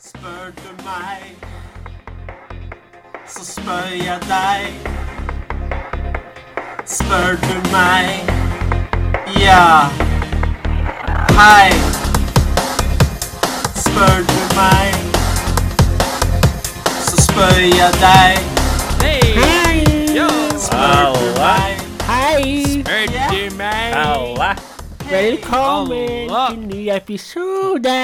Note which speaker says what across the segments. Speaker 1: Spør du meg, så spør jeg deg. Spør du meg, ja. Hei. Spør du meg, så spør jeg deg.
Speaker 2: Hei!
Speaker 1: Spør du
Speaker 3: Alla.
Speaker 1: meg,
Speaker 2: Hei!
Speaker 1: ja.
Speaker 3: Alle.
Speaker 2: Velkommen
Speaker 4: Halla.
Speaker 2: til ny episode!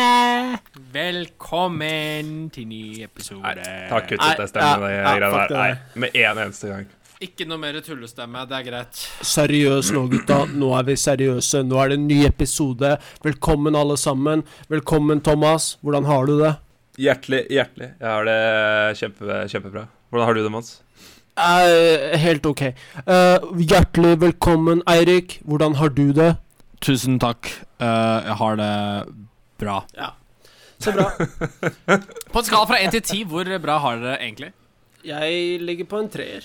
Speaker 4: Velkommen til ny episode.
Speaker 3: Nei, ta kutt ut det stemmen.
Speaker 2: Nei,
Speaker 3: det
Speaker 2: ja,
Speaker 3: greiene
Speaker 2: fuck
Speaker 3: der. Nei, med en eneste gang.
Speaker 4: Ikke noe mer tullestemme, det er greit.
Speaker 2: Seriøs nå, gutta. Nå er vi seriøse. Nå er det en ny episode. Velkommen, alle sammen. Velkommen, Thomas. Hvordan har du det?
Speaker 3: Hjertelig, hjertelig. Jeg har det kjempe, kjempebra. Hvordan har du det, Mons?
Speaker 2: Eh, helt ok. Eh, hjertelig velkommen, Eirik. Hvordan har du det?
Speaker 4: Tusen takk. Eh, jeg har det bra. Ja.
Speaker 2: Så bra.
Speaker 4: På en skala fra 1 til 10, hvor bra har dere det egentlig?
Speaker 2: Jeg ligger på en treer.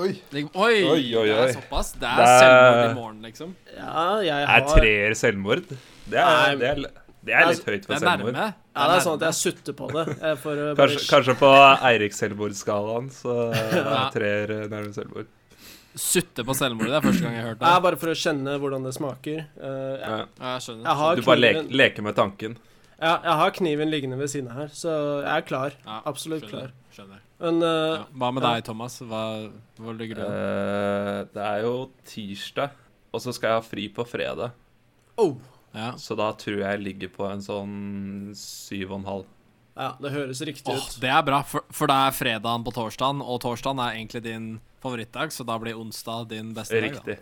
Speaker 4: Oi, oi,
Speaker 3: Oi, oi,
Speaker 4: det
Speaker 3: oi.
Speaker 4: er såpass. Det er
Speaker 3: Det er-
Speaker 4: selvmord i morgen, liksom.
Speaker 2: Ja, jeg
Speaker 3: Er treer selvmord? Det
Speaker 2: Nei.
Speaker 3: er,
Speaker 2: altså,
Speaker 3: det er, det er litt høyt
Speaker 4: Det
Speaker 3: for
Speaker 4: er
Speaker 3: selvmord.
Speaker 4: nærme.
Speaker 2: sånn sutter på det. eh,
Speaker 3: Kanskje, kanskje på Eirik-selvmordsskalaen så er treer eh, nærmere selvmord.
Speaker 4: Sutte på selvmordet, det er første gang jeg har hørt det.
Speaker 2: Ja, bare for å kjenne hvordan det smaker. Eh, ja.
Speaker 3: Ja.
Speaker 4: Ja, Jeg skjønner.
Speaker 2: jeg, har
Speaker 3: Du bare leker,
Speaker 2: kniven,
Speaker 3: leker med tanken.
Speaker 2: ja, jeg har kniven liggende ved siden av her, så jeg er klar.
Speaker 4: Ja,
Speaker 2: Absolutt
Speaker 4: skjønner,
Speaker 2: klar.
Speaker 4: skjønner.
Speaker 2: Men eh,
Speaker 4: Ja. Hva med
Speaker 2: ja.
Speaker 4: deg, Thomas? Hva, hvor ligger du?
Speaker 3: Eh, det er jo tirsdag, og så skal jeg ha fri på fredag.
Speaker 2: oh,
Speaker 4: Ja.
Speaker 3: Så da tror jeg jeg ligger på en sånn syv og en halv.
Speaker 2: ja, det høres riktig
Speaker 4: Åh,
Speaker 2: ut.
Speaker 4: det er bra, for, for det er fredagen på torsdagen, og torsdagen er egentlig din favorittdag, så da blir onsdag din beste dag.
Speaker 3: Riktig.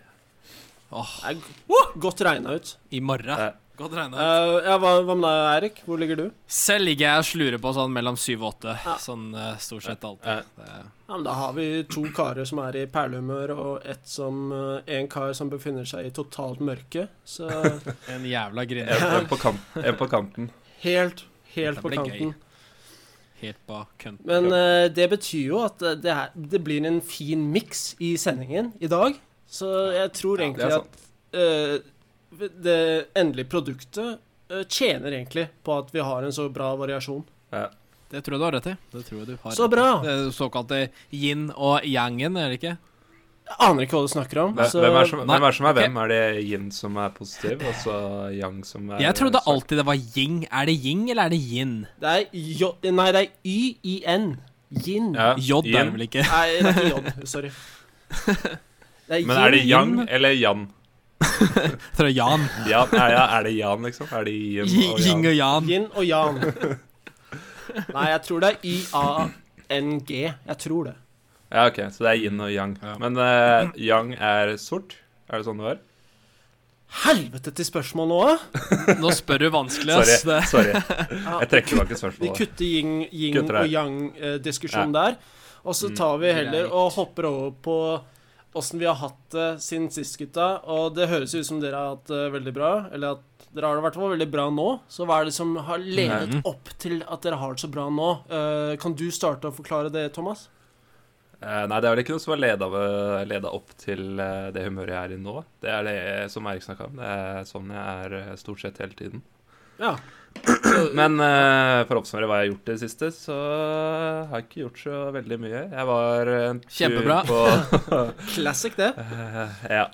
Speaker 2: Det er godt regna ut.
Speaker 4: Da. I morgen.
Speaker 3: Ja.
Speaker 4: Godt regna.
Speaker 2: Eh, ja, hva, hva med deg, Erik? Hvor ligger du?
Speaker 4: Selv ligger jeg og slurer på sånn mellom syv og åtte. Sånn eh, stort sett
Speaker 3: Ja.
Speaker 4: alltid. Det-
Speaker 2: Ja, men Da har vi to karer som er i perlehumør, og ett som, eh, en kar som befinner seg i totalt mørke. Så
Speaker 4: En jævla
Speaker 3: En,
Speaker 4: griner.
Speaker 3: en, på kan- en på kanten.
Speaker 2: helt, helt
Speaker 4: Dette
Speaker 2: på
Speaker 4: blir gøy.
Speaker 2: kanten.
Speaker 4: Helt på kønten.
Speaker 2: Men eh, det betyr jo at eh, det, her, det blir en fin miks i sendingen i dag. Så jeg tror
Speaker 3: Det
Speaker 4: Ja,
Speaker 3: er
Speaker 2: egentlig at
Speaker 3: sant.
Speaker 2: eh, det endelige produktet eh, tjener egentlig på at vi har en så bra variasjon.
Speaker 4: Det tror jeg du har rett i. Det tror jeg du har
Speaker 2: Så
Speaker 4: rett i.
Speaker 2: bra!
Speaker 4: Det er jo såkalte yin og yangen, er det ikke?
Speaker 2: Jeg aner ikke hva du snakker om.
Speaker 3: Hvem
Speaker 2: så,
Speaker 3: hvem er som,
Speaker 4: Nei,
Speaker 3: hvem? Er, som er, hvem? er det yin som er positiv, og så yang som er
Speaker 4: Jeg trodde alltid det var ying. Er det ying, eller er det yin?
Speaker 2: Det er J... Nei, det er Y-I-N. Yin.
Speaker 3: Ja,
Speaker 4: J er det
Speaker 3: yin.
Speaker 4: vel ikke?
Speaker 2: Nei, det er ikke J. Sorry. Det er
Speaker 3: Men er det
Speaker 2: yin.
Speaker 3: yang
Speaker 4: yin?
Speaker 3: eller yan?
Speaker 4: Jeg tror det er yan.
Speaker 3: Ja, er, ja, er det yan, liksom? Er det yin og yang?
Speaker 4: Ying og yan.
Speaker 2: Yin og Jan. Nei, jeg tror det er Y-A-N-G. Jeg tror det.
Speaker 3: Ja, ok, så det er yin og yang.
Speaker 4: Ja.
Speaker 3: Men eh, yang er sort? Er det sånn det var?
Speaker 2: Helvete til spørsmål nå, eh? da!
Speaker 4: Nå spør du vanskelig,
Speaker 3: Sorry.
Speaker 4: ass. Det-
Speaker 3: sorry.
Speaker 2: Ja,
Speaker 3: Jeg trekker tilbake
Speaker 2: Vi
Speaker 3: spørsmålet.
Speaker 2: kutter yin, yin
Speaker 3: Kutter Mm. det.
Speaker 2: og yang-diskusjonen der. Og så tar vi heller
Speaker 4: greit.
Speaker 2: og hopper over på åssen vi har hatt det siden sist, gutta. Og det høres ut som dere har hatt det veldig bra. Eller at dere har det i hvert fall veldig bra nå. Så hva er det som har ledet
Speaker 3: Mm.
Speaker 2: opp til at dere har det så bra nå? Eh, kan du starte å forklare det, Thomas?
Speaker 3: Eh, nei, det er vel ikke noe som har leda, leda opp til eh, det humøret jeg er i nå. Det er det som Erik snakka om. Det er sånn jeg er eh, stort sett hele tiden.
Speaker 2: Ja.
Speaker 3: Men eh, for å oppsummere hva jeg har gjort i det siste, så har jeg ikke gjort så veldig mye. Jeg var en tur
Speaker 4: Kjempebra.
Speaker 3: på
Speaker 2: Classic, det.
Speaker 3: Eh, ja.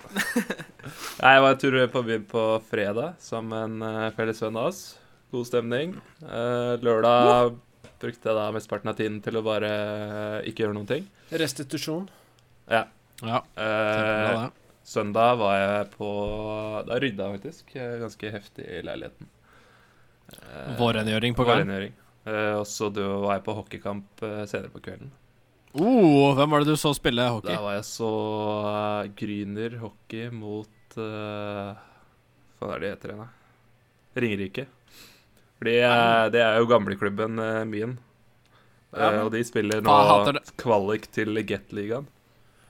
Speaker 3: Nei, jeg var en tur på byen på fredag sammen med en eh, felles venn av oss. God stemning. Eh, lørdag brukte jeg da mesteparten av tiden til å bare eh, ikke gjøre noen ting.
Speaker 2: Restitusjon.
Speaker 4: Ja,
Speaker 3: Eh,
Speaker 4: kjempebra, det.
Speaker 3: Søndag var jeg på Da rydda jeg faktisk eh, ganske heftig i leiligheten. Eh,
Speaker 4: Vårrengjøring på gang.
Speaker 3: vårrengjøring. Eh, og så da var jeg på hockeykamp eh, senere på kvelden.
Speaker 4: Oh, hvem var det du så spille hockey?
Speaker 3: Da var jeg så eh, Gryner hockey mot eh, Hva er det de heter igjen, da? Ringerike. Fordi eh, det er jo gamleklubben eh, min.
Speaker 2: Ja,
Speaker 3: Eh,
Speaker 2: men-
Speaker 3: og de spiller nå
Speaker 4: Faen, hater det.
Speaker 3: kvalik til Gateligaen.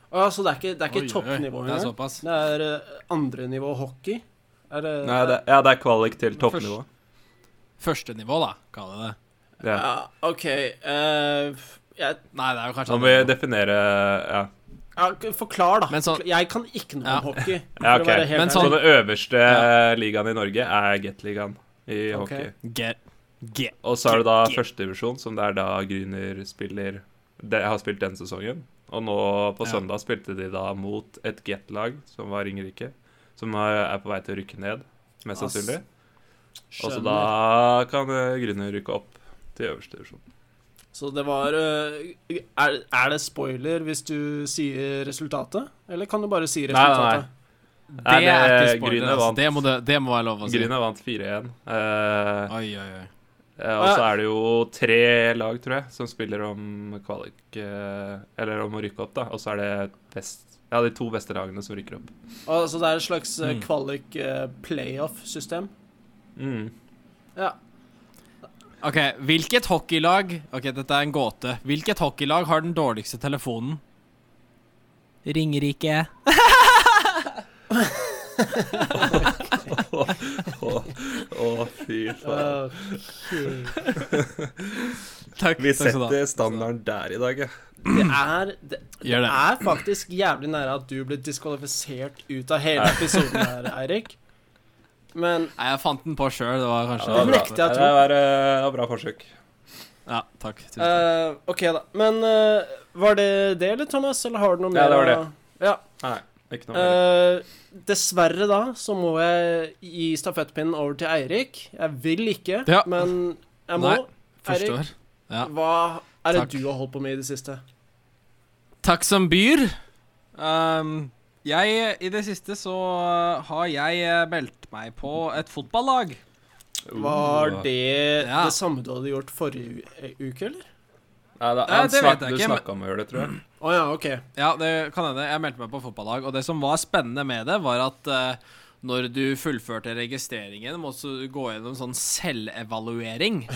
Speaker 2: Å, ja, så det er ikke, det er
Speaker 4: Oi,
Speaker 2: ikke
Speaker 4: oi, oi.
Speaker 2: toppnivå
Speaker 4: Det er sånn.
Speaker 2: engang?
Speaker 4: såpass.
Speaker 2: Det er eh, andre nivå hockey? Er det,
Speaker 3: Nei, det, ja, Eh, det er kvalik til
Speaker 4: Men først-
Speaker 3: toppnivå.
Speaker 4: Første nivå, da, kall det det.
Speaker 3: Ja.
Speaker 2: Ja, OK. eh, jeg,
Speaker 4: Nei, det er jo kanskje
Speaker 3: Nå må vi definere Ja.
Speaker 2: ja, forklar, da.
Speaker 4: Men så-
Speaker 2: jeg kan ikke noe
Speaker 4: Ja.
Speaker 2: om hockey.
Speaker 3: Ja,
Speaker 2: for å
Speaker 3: ok.
Speaker 2: være helt
Speaker 4: Men
Speaker 3: Så
Speaker 4: sånn-
Speaker 2: ærlig.
Speaker 3: den øverste
Speaker 4: Ja.
Speaker 3: eh, ligaen i Norge er Gateligaen i
Speaker 2: Ok.
Speaker 3: hockey.
Speaker 4: Get, G.
Speaker 3: Og så er det da førstedivisjon, som det er da Gryner spiller de, har spilt den sesongen. Og nå på
Speaker 4: Ja.
Speaker 3: søndag spilte de da mot et Get-lag som var Ringerike, som er er på vei til å rykke ned, mest
Speaker 2: Ass.
Speaker 3: sannsynlig. Og så
Speaker 2: Skjønner.
Speaker 3: da kan eh, Gryner rykke opp til øverste divisjon.
Speaker 2: Så det var eh, er, er det spoiler hvis du sier resultatet? Eller kan du bare si
Speaker 3: Nei, nei,
Speaker 2: resultatet?
Speaker 3: nei.
Speaker 4: Det
Speaker 3: Nei,
Speaker 4: er ikke
Speaker 3: det-
Speaker 4: spoiler.
Speaker 3: Grüner
Speaker 4: Altså.
Speaker 3: vant.
Speaker 4: Det, må det, det må være lov å si.
Speaker 3: Gryner vant 4-1. eh,
Speaker 4: Oi, oi, oi.
Speaker 3: eh, og så er det jo tre lag, tror jeg, som spiller om kvalik... eh, eller om å rykke opp, da. Og så er det best, ja, de to beste lagene som rykker opp.
Speaker 2: Og, så det er et slags eh,
Speaker 4: Mm.
Speaker 2: kvalik eh, playoff-system?
Speaker 3: Mm.
Speaker 2: Ja.
Speaker 4: Ok, hvilket hockeylag Ok, dette er en gåte. Hvilket hockeylag har den dårligste telefonen? Ringerike.
Speaker 3: Å, å, å, fy faen.
Speaker 2: Eh,
Speaker 4: Takk.
Speaker 3: Vi
Speaker 4: takk skal du ha.
Speaker 3: setter standarden der i dag, ja.
Speaker 2: Det er, det,
Speaker 4: Gjør
Speaker 2: det
Speaker 4: det.
Speaker 2: er faktisk jævlig nære at du ble diskvalifisert ut av hele episoden her, Eirik. Men
Speaker 4: Nei, jeg fant den på sjøl. Det var kanskje
Speaker 2: Ja, det
Speaker 4: bra.
Speaker 2: nekter jeg å tro.
Speaker 3: Det var, eh, det var bra forsøk.
Speaker 4: Ja, takk. Tusen takk.
Speaker 2: eh, OK, da. Men eh, var det det, eller, Thomas? Eller har du noe
Speaker 3: Ja,
Speaker 2: mer?
Speaker 3: det var det.
Speaker 2: å-
Speaker 3: Nei, ikke noe mer.
Speaker 2: Eh, dessverre, da, så må jeg gi stafettpinnen over til Eirik. Jeg vil ikke,
Speaker 4: Ja.
Speaker 2: men jeg må.
Speaker 4: Nei, Forstår. ja.
Speaker 2: Hva er det
Speaker 4: Takk.
Speaker 2: du har holdt på med i det siste?
Speaker 4: Takk som byr. Ehm, jeg I det siste så eh, har jeg eh, meldt meg på et fotballag. Eh,
Speaker 3: Uh,
Speaker 2: Var det
Speaker 4: Ja.
Speaker 2: det samme du hadde gjort forrige u- eh, uke, eller?
Speaker 3: Nei, da,
Speaker 4: Nei,
Speaker 3: han
Speaker 4: Eh, det
Speaker 3: snak,
Speaker 4: vet jeg
Speaker 3: du
Speaker 4: ikke, men-
Speaker 3: snakka om å gjøre det, tror jeg.
Speaker 2: Å ja, OK.
Speaker 4: Ja, det kan hende. Jeg meldte meg på fotballag, og det som var spennende med det, var at eh, når du fullførte registreringen, måtte du gå gjennom sånn selvevaluering.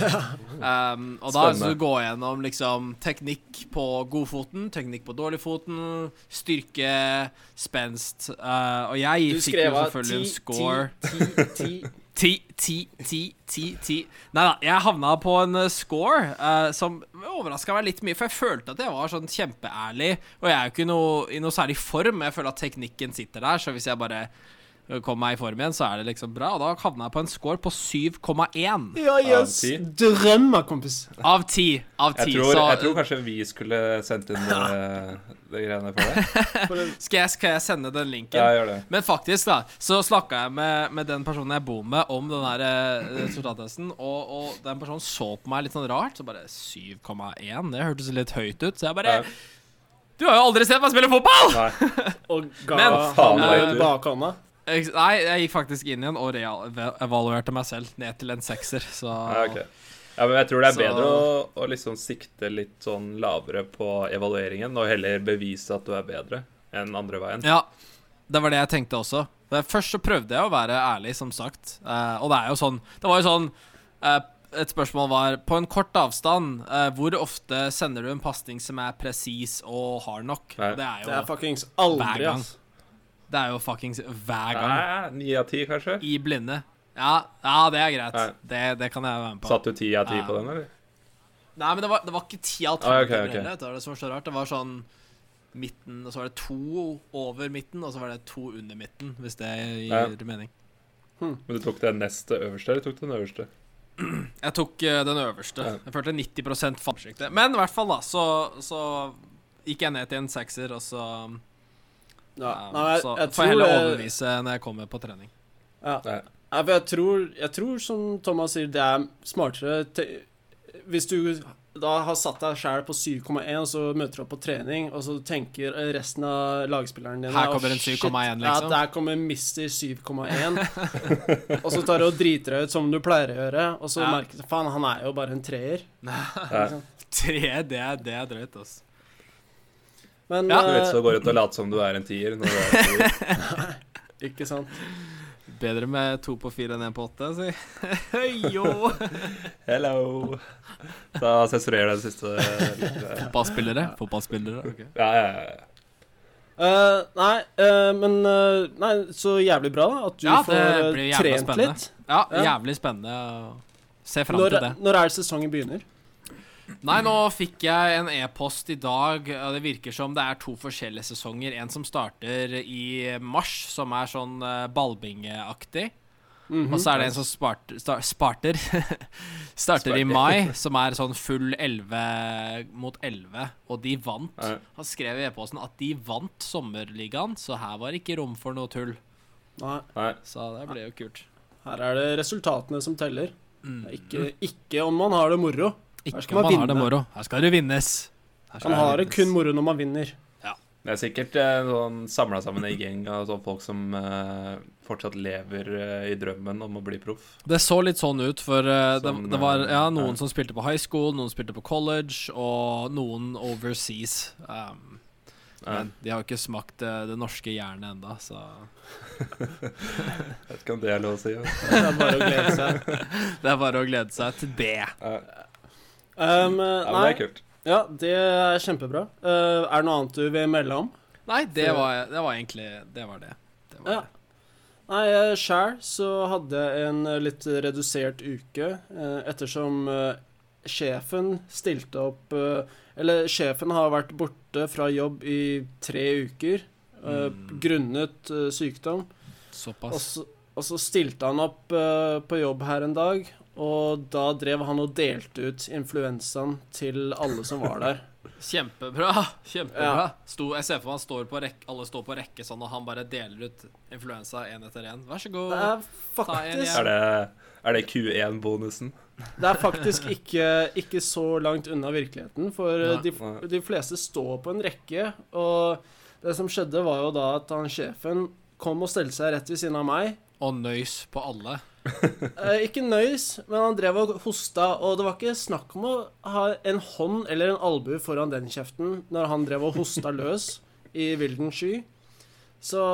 Speaker 4: Um, og da
Speaker 3: Spennende.
Speaker 4: så du gå gjennom liksom teknikk på godfoten, teknikk på dårligfoten, styrke, spenst eh, Og jeg
Speaker 2: Du
Speaker 4: fikk
Speaker 2: skrev
Speaker 4: jo
Speaker 2: av
Speaker 4: selvfølgelig
Speaker 2: 10,
Speaker 4: en score.
Speaker 2: 10, 10,
Speaker 4: Ti, ti, ti, ti, ti. Nei da, jeg havna på en eh, score eh, som overraska meg litt mye, for jeg følte at jeg var sånn kjempeærlig. Og jeg er jo ikke noe, i noe særlig form, jeg føler at teknikken sitter der, så hvis jeg bare eh, kommer meg i form igjen, så er det liksom bra. Og da havna jeg på en score på 7,1
Speaker 2: Ja, jøss.
Speaker 3: ti.
Speaker 2: Drømmer, kompis.
Speaker 4: av 10. Av 10.
Speaker 3: Jeg tror,
Speaker 4: så
Speaker 3: jeg tror kanskje vi skulle sendt inn eh, de greiene for deg.
Speaker 2: For en-
Speaker 4: eh, skal, jeg, skal jeg sende den linken?
Speaker 3: Ja, gjør det.
Speaker 4: Men faktisk, da, så snakka jeg med, med den personen jeg bor med, om den her eh, resultattesten, og, og den personen så på meg litt sånn rart. Så bare 7,1, det hørtes litt høyt ut. Så jeg bare
Speaker 3: Ja.
Speaker 4: Du har jo aldri sett meg spille fotball!
Speaker 3: Nei.
Speaker 2: Og ga
Speaker 4: Men,
Speaker 3: faen,
Speaker 2: han eh,
Speaker 3: vet du.
Speaker 2: bakhånda.
Speaker 4: Jeg- Nei, jeg gikk faktisk inn igjen og reevaluerte meg selv ned til en sekser, så
Speaker 3: Ja, ok. ja, men jeg tror det er
Speaker 4: Så-
Speaker 3: bedre å, å liksom sikte litt sånn lavere på evalueringen, og heller bevise at du er bedre, enn andre veien.
Speaker 4: Ja, det var det jeg tenkte også. Men Først så prøvde jeg å være ærlig, som sagt. Eh, og det er jo sånn Det var jo sånn eh, Et spørsmål var På en kort avstand, eh, hvor ofte sender du en pasning som er presis og hard nok?
Speaker 3: Nei.
Speaker 4: Og Det er
Speaker 2: Det er
Speaker 4: jo,
Speaker 2: fuckings
Speaker 4: Hver
Speaker 2: aldri,
Speaker 4: gang.
Speaker 2: ass.
Speaker 4: det er jo fuckings hver gang.
Speaker 3: Nei, Ni av ti, kanskje?
Speaker 4: I blinde. Ja, ja, det er greit.
Speaker 3: Nei.
Speaker 4: Det, det kan jeg være med på.
Speaker 3: Satt du ti av ti
Speaker 4: Ja.
Speaker 3: på den, eller?
Speaker 4: Nei, men det var, det var ikke ti
Speaker 3: Ah,
Speaker 4: alternativer
Speaker 3: ok, ok.
Speaker 4: heller. Det var det som var så rart. Det var sånn midten, og så var det to over midten, og så var det to under midten, hvis det gir
Speaker 3: Ja.
Speaker 4: mening.
Speaker 3: Men du tok den neste øverste, eller tok du den øverste?
Speaker 4: Jeg tok eh, den øverste.
Speaker 3: Ja.
Speaker 4: Jeg følte 90 fallsjekte. Men i hvert fall, da, så, så gikk jeg ned til en sekser, og så,
Speaker 2: Ja.
Speaker 4: ja,
Speaker 2: Nei, jeg,
Speaker 4: så
Speaker 2: jeg
Speaker 4: får jeg heller
Speaker 2: tror eh, det-
Speaker 4: overbevise når jeg kommer på trening.
Speaker 2: Ja.
Speaker 3: Nei.
Speaker 2: Nei, for jeg tror, jeg tror, som Thomas sier, det er smartere te Hvis du da har satt deg sjæl på 7,1, og så møter du opp på trening, og så tenker resten av lagspilleren din
Speaker 4: Her kommer en 7,1, liksom.
Speaker 2: Ja, der kommer mister 7,1. og så tar du og driter deg ut som du pleier å gjøre, og så
Speaker 4: Ja.
Speaker 2: merker du Faen, han er jo bare en treer.
Speaker 3: Nei.
Speaker 4: Tre, det er, det er drøyt, altså.
Speaker 2: Men
Speaker 4: Ja.
Speaker 3: Du vet, så
Speaker 2: eh,
Speaker 3: går du ut og later som du er en tier. Når du er en tier.
Speaker 2: eh, Ikke sant.
Speaker 4: Bedre med to på fire enn én på åtte, si. jo!
Speaker 3: Hello! Da sensurerer jeg den siste eh,
Speaker 4: Fotballspillere. Fotballspillere.
Speaker 3: Ja, ja, ja.
Speaker 2: Eh, nei, eh, men eh, Nei, så jævlig bra da at du
Speaker 4: Ja, det
Speaker 2: får eh,
Speaker 4: blir jævla
Speaker 2: trent
Speaker 4: spennende.
Speaker 2: litt.
Speaker 4: Ja,
Speaker 2: Ja.
Speaker 4: jævlig spennende. å Se fram
Speaker 2: Når,
Speaker 4: til det.
Speaker 2: når er det sesongen begynner?
Speaker 4: Nei, nå fikk jeg en e-post i dag, og det virker som det er to forskjellige sesonger. En som starter i mars, som er sånn eh, ballbingeaktig.
Speaker 2: Mhm.
Speaker 4: Og så er det en som spart, sta- sparter Starter
Speaker 3: Sparter.
Speaker 4: i mai, som er sånn full 11 mot 11, og de vant.
Speaker 3: Ja.
Speaker 4: Han skrev i e-posten at de vant sommerligaen, så her var ikke rom for noe tull.
Speaker 2: Nei,
Speaker 3: Nei.
Speaker 4: Så det ble jo kult.
Speaker 2: her er det resultatene som teller.
Speaker 4: Mm.
Speaker 2: Det er Ikke, ikke om man har det moro.
Speaker 4: Ikke
Speaker 2: skal
Speaker 4: om
Speaker 2: man
Speaker 4: man har det
Speaker 2: vinne.
Speaker 4: moro. Her skal det vinnes. Her skal
Speaker 2: Man har det
Speaker 4: vinnes.
Speaker 2: kun moro når man vinner.
Speaker 3: Det er sikkert eh, sånn samla sammen en gjeng av sånn folk som eh, fortsatt lever eh, i drømmen om å bli proff.
Speaker 4: Det så litt sånn ut, for eh, det,
Speaker 3: Sånn,
Speaker 4: det var
Speaker 3: eh,
Speaker 4: ja,
Speaker 3: ja.
Speaker 4: noen som spilte på high school, noen spilte på college, og noen overseas. Um,
Speaker 3: Ja.
Speaker 4: men de har jo ikke smakt eh, det norske jernet enda, så
Speaker 3: Vet ikke om det er lov å si. altså. Ja.
Speaker 2: Det er bare å glede seg.
Speaker 4: det er bare å glede seg til det.
Speaker 3: Eh,
Speaker 2: Um,
Speaker 3: Ja, men det
Speaker 2: nei,
Speaker 3: er kult.
Speaker 2: ja, det er kjempebra. Uh, er det noe annet du vil melde om?
Speaker 4: Nei, det var, det var egentlig Det var det. det, var
Speaker 2: Ja.
Speaker 4: det.
Speaker 2: Nei, eh, sjæl så hadde jeg en eh, litt redusert uke, eh, ettersom eh, sjefen stilte opp eh, Eller sjefen har vært borte fra jobb i tre uker eh,
Speaker 4: Mm.
Speaker 2: grunnet eh, sykdom. Og
Speaker 4: Såpass.
Speaker 2: så, og så stilte han opp eh, på jobb her en dag, og da drev han og delte ut influensaen til alle som var der.
Speaker 4: Kjempebra. Kjempebra.
Speaker 2: Ja.
Speaker 4: Sto, jeg ser for meg han står på rekke, alle står på rekke sånn, og han bare deler ut influensa én etter én. Vær så god.
Speaker 2: Det er
Speaker 4: igjen.
Speaker 2: faktisk,
Speaker 3: Er det, er det Q1-bonusen?
Speaker 2: det er faktisk ikke, ikke så langt unna virkeligheten, for eh,
Speaker 4: Nei,
Speaker 2: de,
Speaker 3: nei.
Speaker 2: de fleste står på en rekke, og det som skjedde, var jo da at han sjefen kom og stelte seg rett ved siden av meg.
Speaker 4: Og nøys på alle.
Speaker 2: Eh, ikke nøys, men han drev og hosta, og det var ikke snakk om å ha en hånd eller en albue foran den kjeften når han drev og hosta løs i vilden sky. Så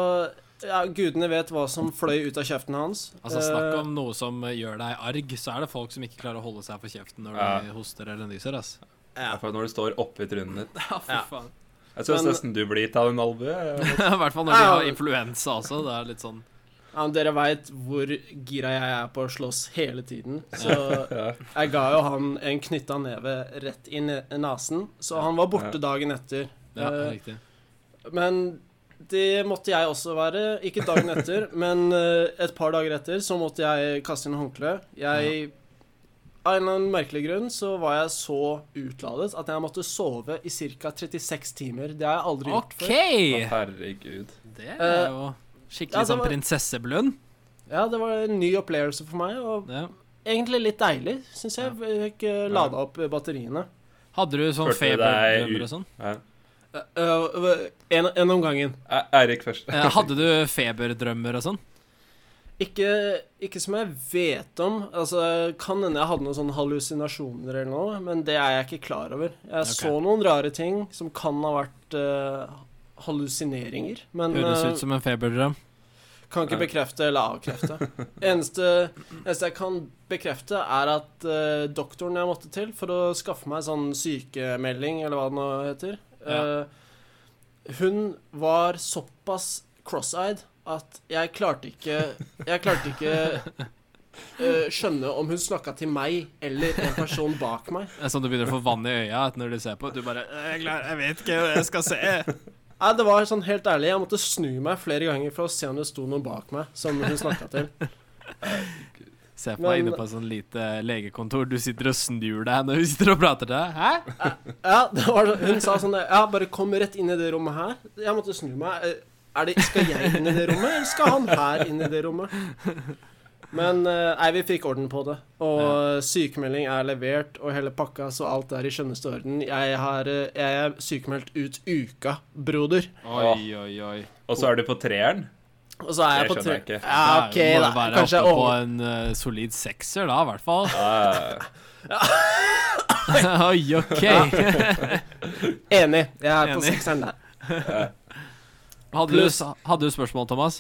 Speaker 2: ja, gudene vet hva som fløy ut av kjeften hans.
Speaker 4: Altså Snakk
Speaker 2: Eh,
Speaker 4: om noe som eh, gjør deg arg, så er det folk som ikke klarer å holde seg for kjeften når
Speaker 3: Ja.
Speaker 4: de hoster eller nyser. ass.
Speaker 2: Ja.
Speaker 3: I hvert fall når du står oppi trynet ditt.
Speaker 4: Ja, fy faen.
Speaker 3: Jeg syns
Speaker 2: Men-
Speaker 3: nesten du blir gitt av en eh. albue.
Speaker 4: I hvert fall når de har
Speaker 2: Ja.
Speaker 4: influensa også. Det er litt sånn
Speaker 2: Eh, ja, men dere veit hvor gira jeg er på å slåss hele tiden, så
Speaker 3: Ja.
Speaker 2: jeg ga jo han en knytta neve rett i ne- nesen, så han var borte dagen etter.
Speaker 4: Ja,
Speaker 2: Eh,
Speaker 4: riktig.
Speaker 2: Men det måtte jeg også være. Ikke dagen etter, men eh, et par dager etter så måtte jeg kaste inn håndkle. Jeg Av en eller annen merkelig grunn så var jeg så utladet at jeg måtte sove i ca. 36 timer. Det har jeg aldri gjort
Speaker 4: OK!
Speaker 2: før.
Speaker 3: Herregud.
Speaker 4: Det er jo
Speaker 2: Eh, ja, altså,
Speaker 4: skikkelig
Speaker 2: det
Speaker 4: sånn
Speaker 2: var-
Speaker 4: prinsesseblund.
Speaker 2: Ja, det var en ny opplevelse for meg, og
Speaker 4: Ja.
Speaker 2: egentlig litt deilig, syns jeg. Jeg fikk eh, lada opp batteriene.
Speaker 4: Hadde du sånn
Speaker 3: Følte du deg
Speaker 4: feberdrømmer
Speaker 3: ut-
Speaker 4: og sånn?
Speaker 3: Ja.
Speaker 2: Eh, eh, en, en om gangen.
Speaker 3: E- Eirik først.
Speaker 4: Eh, Hadde du feberdrømmer og sånn?
Speaker 2: Ikke, ikke som jeg vet om. Altså, Kan hende jeg hadde noen sånne hallusinasjoner eller noe, men det er jeg ikke klar over. Jeg
Speaker 4: Ok.
Speaker 2: så noen rare ting som kan ha vært eh, hallusineringer, men
Speaker 4: Høres
Speaker 2: eh,
Speaker 4: ut som en feberdrøm.
Speaker 2: kan ikke
Speaker 3: Ja.
Speaker 2: bekrefte eller avkrefte. eneste, eneste jeg kan bekrefte, er at eh, doktoren jeg måtte til for å skaffe meg sånn sykemelding, eller hva det nå heter
Speaker 4: Ja.
Speaker 2: eh, Hun var såpass cross-eyed at jeg klarte ikke Jeg klarte ikke eh, skjønne om hun snakka til meg eller en person bak meg.
Speaker 4: Det er sånn du begynner å få vann i øya når du ser på. Du bare «Eh, jeg, klarer- 'Jeg vet ikke hva jeg skal se'.
Speaker 2: Nei, det var sånn helt ærlig Jeg måtte snu meg flere ganger for å se om det sto noen bak meg som hun snakka til.
Speaker 4: Se på meg
Speaker 2: Men-
Speaker 4: inne på et sånn lite legekontor. Du sitter og snur deg når du sitter og prater til deg. Hæ?
Speaker 2: Ja, det var, så- hun sa sånn der, Ja, bare kom rett inn i det rommet her. Jeg måtte snu meg. eh, Er det, skal jeg inn i det rommet, eller skal han her inn i det rommet? Men eh, nei, vi fikk orden på det. Og sykemelding er levert, og hele pakka, så alt er i skjønneste orden. Jeg, har, eh, jeg er sykemeldt ut uka, broder.
Speaker 4: Oi, oi, oi.
Speaker 3: Og så er du på treeren.
Speaker 2: Og så er jeg
Speaker 3: Det
Speaker 2: på
Speaker 3: skjønner jeg
Speaker 2: tre...
Speaker 3: ikke.
Speaker 2: Ja, OK,
Speaker 4: må
Speaker 2: da.
Speaker 4: du være
Speaker 2: Kanskje jeg
Speaker 4: oppe på
Speaker 2: over...
Speaker 4: en eh, solid sekser, da, i hvert fall.
Speaker 3: Ja,
Speaker 4: Oi, OK.
Speaker 2: Enig. Jeg er på
Speaker 4: Enig.
Speaker 2: sekseren der.
Speaker 4: Hadde du, hadde du spørsmål, Thomas?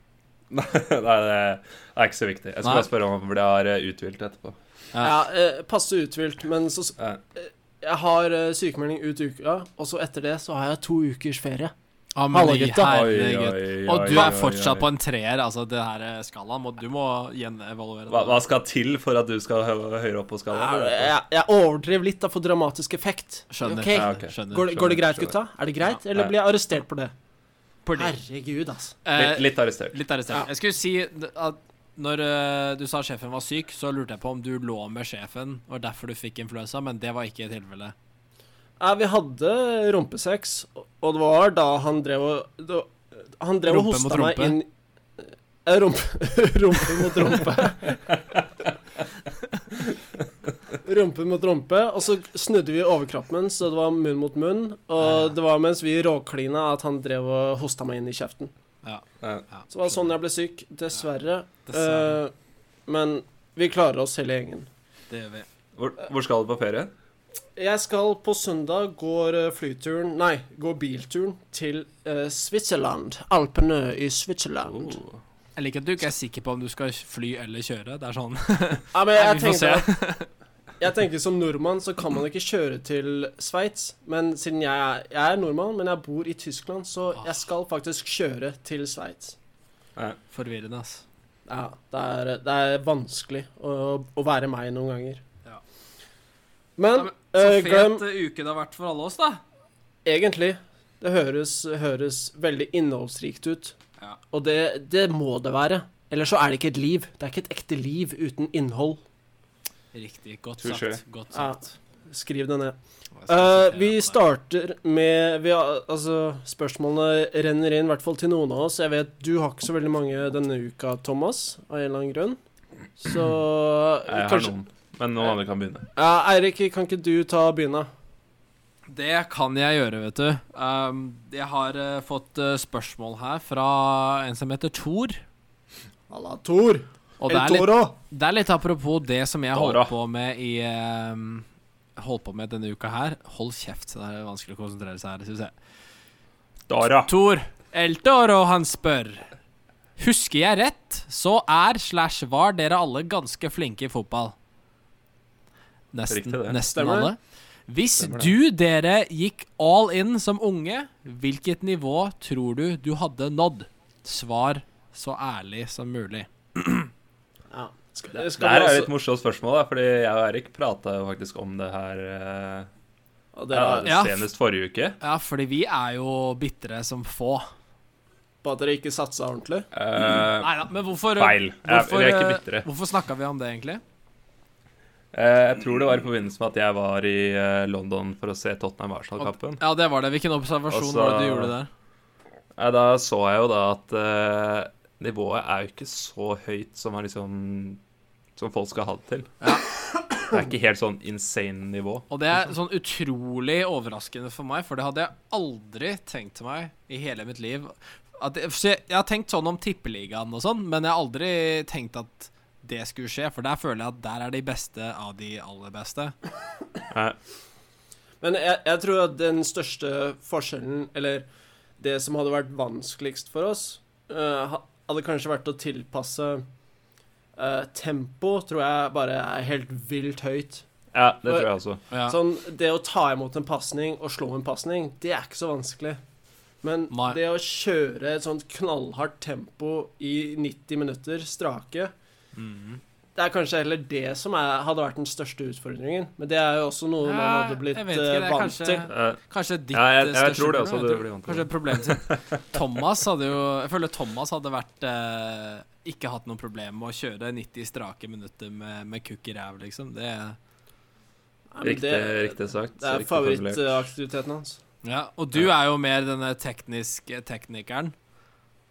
Speaker 3: Nei, det er ikke så viktig. Jeg skal
Speaker 4: Nei.
Speaker 3: bare spørre om det har eh, uthvilt etterpå.
Speaker 2: Ja, eh, passe uthvilt, men så
Speaker 3: Ja.
Speaker 2: Jeg har eh, sykemelding ut uka, og så etter det så har jeg to ukers ferie.
Speaker 4: Å, Ah, men
Speaker 2: Hallo,
Speaker 4: i
Speaker 2: gutta.
Speaker 4: herregud.
Speaker 3: oi,
Speaker 4: Og
Speaker 3: oi,
Speaker 4: du
Speaker 3: oi,
Speaker 4: er fortsatt
Speaker 3: oi.
Speaker 4: på en treer, altså det her skalaen. må- Du må gjenevaluere
Speaker 3: hva, hva
Speaker 4: det.
Speaker 3: skal til for at du skal hø høyere opp på skalaen?
Speaker 2: Jeg, jeg overdrev litt da for dramatisk effekt.
Speaker 4: Skjønner.
Speaker 2: Ok?
Speaker 3: Ja, ok.
Speaker 4: Skjønner.
Speaker 2: Går, det- går det greit,
Speaker 3: skjønner.
Speaker 2: gutta? Er det greit,
Speaker 3: Ja.
Speaker 2: eller blir jeg arrestert på det?
Speaker 4: Fordi,
Speaker 2: Herregud, altså.
Speaker 4: eh,
Speaker 3: Litt, litt arrestert.
Speaker 4: litt arrestert.
Speaker 2: Ja.
Speaker 4: Jeg skulle si at når eh, du sa sjefen var syk, så lurte jeg på om du lå med sjefen, og derfor du fikk influensa, men det var ikke tilfellet.
Speaker 2: Nei, vi hadde rumpesex, og det var da han drev og da, Han drev og
Speaker 4: Rumpe mot
Speaker 2: hosta meg
Speaker 4: rumpe?
Speaker 2: inn Eh, Rumpe, rumpe mot rumpe. rumpe mot rumpe, og så snudde vi overkroppen, så det var munn mot munn. Og det var mens vi råklina at han drev og hosta meg inn i kjeften.
Speaker 4: Ja.
Speaker 2: Så det var sånn jeg ble syk, dessverre.
Speaker 4: Dessverre.
Speaker 2: Eh, men vi klarer oss hele gjengen.
Speaker 4: Det gjør vi.
Speaker 3: Hvor, hvor skal du på ferie?
Speaker 2: Jeg skal på søndag går eh, flyturen Nei, går bilturen til eh, Switzerland. Alpene i Switzerland.
Speaker 3: Oh.
Speaker 4: Jeg liker at du ikke er sikker på om du skal fly eller kjøre. Det er sånn
Speaker 2: Ja, men jeg
Speaker 4: Vi får
Speaker 2: tenker, at, jeg tenker som nordmann så kan man ikke kjøre til Sveits. Men siden jeg er, jeg er nordmann, men jeg bor i Tyskland, så
Speaker 4: Ah.
Speaker 2: jeg skal faktisk kjøre til Sveits.
Speaker 4: forvirrende, ass.
Speaker 2: Ja, det er, det er vanskelig å, å være meg noen ganger.
Speaker 4: Ja. Ja,
Speaker 2: Men
Speaker 4: men
Speaker 2: eh,
Speaker 4: Så
Speaker 2: glem
Speaker 4: fet eh, uke det har vært for alle oss, da.
Speaker 2: Egentlig. Det høres, høres veldig innholdsrikt ut.
Speaker 4: Ja.
Speaker 2: Og det, det må det være. Eller så er det ikke et liv. Det er ikke et ekte liv uten innhold.
Speaker 4: Riktig. Godt
Speaker 3: Touché.
Speaker 4: sagt. Godt
Speaker 2: Ja.
Speaker 4: sagt.
Speaker 2: Skriv det ned.
Speaker 4: Hva skal jeg
Speaker 2: Eh,
Speaker 4: sitere
Speaker 2: vi
Speaker 4: på det?
Speaker 2: starter med vi har, Altså, spørsmålene renner inn, i hvert fall til noen av oss. Jeg vet du har ikke så veldig mange denne uka, Thomas, av en eller annen grunn. Så
Speaker 3: Jeg har
Speaker 2: kanskje
Speaker 3: noen, men noen andre kan begynne.
Speaker 2: Ja, Eirik, kan ikke du ta og begynne?
Speaker 4: Det kan jeg gjøre, vet du. Um, jeg har eh, fått eh, spørsmål her fra en som heter Thor.
Speaker 2: Halla, Tor.
Speaker 4: Og
Speaker 2: El
Speaker 4: det er, litt,
Speaker 2: Toro.
Speaker 4: det er litt apropos det som jeg
Speaker 3: Tora.
Speaker 4: holdt på med i um, Holdt på med denne uka her. Hold kjeft, det er vanskelig å konsentrere seg her. Synes jeg.
Speaker 3: Dara.
Speaker 4: Tor Eltor, og han spør Husker jeg rett, så er slash var dere alle ganske flinke i fotball. Nesten,
Speaker 3: Riktig det.
Speaker 4: nesten
Speaker 2: Stemmer
Speaker 4: alle.
Speaker 2: det.
Speaker 4: Hvis
Speaker 3: Stemmer det.
Speaker 4: du dere gikk all in som unge, hvilket nivå tror du du hadde nådd? Svar så ærlig som mulig.
Speaker 2: Ja. Skal,
Speaker 3: Det
Speaker 2: skal vi
Speaker 3: her er
Speaker 2: også-
Speaker 3: et morsomt spørsmål, da, fordi jeg og Erik prata jo faktisk om det her eh,
Speaker 2: Ja, det er-
Speaker 4: Ja.
Speaker 3: senest forrige uke.
Speaker 4: Ja, fordi vi er jo bitre som få.
Speaker 2: På at dere ikke satsa ordentlig?
Speaker 3: Eh,
Speaker 4: Mm. Nei da, men hvorfor
Speaker 3: feil. Jeg,
Speaker 4: Hvorfor,
Speaker 3: vi er
Speaker 4: eh,
Speaker 3: ikke bitre.
Speaker 4: Hvorfor snakka vi om det, egentlig?
Speaker 3: Eh, jeg tror det var i forbindelse med at jeg var i eh, London for å se Tottenham-Arsenal-kampen.
Speaker 4: Ja, det var det. Hvilken observasjon
Speaker 3: Altså-
Speaker 4: var det du gjorde der?
Speaker 3: Eh, da så jeg jo da at eh, nivået er jo ikke så høyt som, er liksom, som folk skal ha det til.
Speaker 4: Ja.
Speaker 3: Det er ikke helt sånn insane nivå.
Speaker 4: Og det er sånn utrolig overraskende for meg, for det hadde jeg aldri tenkt meg i hele mitt liv. At det, så jeg, jeg har tenkt sånn om tippeligaen og sånn, men jeg har aldri tenkt at det skulle skje, for der føler jeg at der er de beste av de aller beste.
Speaker 3: Eh,
Speaker 2: Men jeg, jeg tror at den største forskjellen, eller det som hadde vært vanskeligst for oss, eh, ha- hadde kanskje vært å tilpasse eh, tempo, tror jeg bare er helt vilt høyt.
Speaker 3: ja, det tror jeg også.
Speaker 4: Ja.
Speaker 2: Sånn, det å ta imot en pasning og slå en pasning, det er ikke så vanskelig. Men
Speaker 4: Nei.
Speaker 2: det å kjøre et sånt knallhardt tempo i 90 minutter strake,
Speaker 3: Mm-hmm.
Speaker 4: Mhm.
Speaker 2: det er kanskje heller det som er, hadde vært den største utfordringen. Men det er jo også noe man
Speaker 4: Ja,
Speaker 2: hadde blitt
Speaker 4: jeg vet ikke,
Speaker 2: eh,
Speaker 4: det er
Speaker 2: vant
Speaker 4: kanskje-
Speaker 2: til.
Speaker 3: Eh,
Speaker 4: Kanskje ditt
Speaker 3: Ja, jeg-
Speaker 4: eh,
Speaker 3: jeg
Speaker 4: største
Speaker 3: tror det også,
Speaker 4: problem,
Speaker 3: det blir
Speaker 4: vet du.
Speaker 3: vant til.
Speaker 4: Kanskje problemet sitt Thomas hadde jo Jeg føler Thomas hadde vært eh, Ikke hatt noe problem med å kjøre 90 strake minutter med, med kukk i ræv, liksom. Det
Speaker 2: Ja, men
Speaker 3: riktig,
Speaker 2: det-
Speaker 3: riktig sagt.
Speaker 2: Det er
Speaker 3: riktig formulert.
Speaker 2: favorittaktiviteten hans.
Speaker 4: Ja, og du er jo mer denne tekniske teknikeren.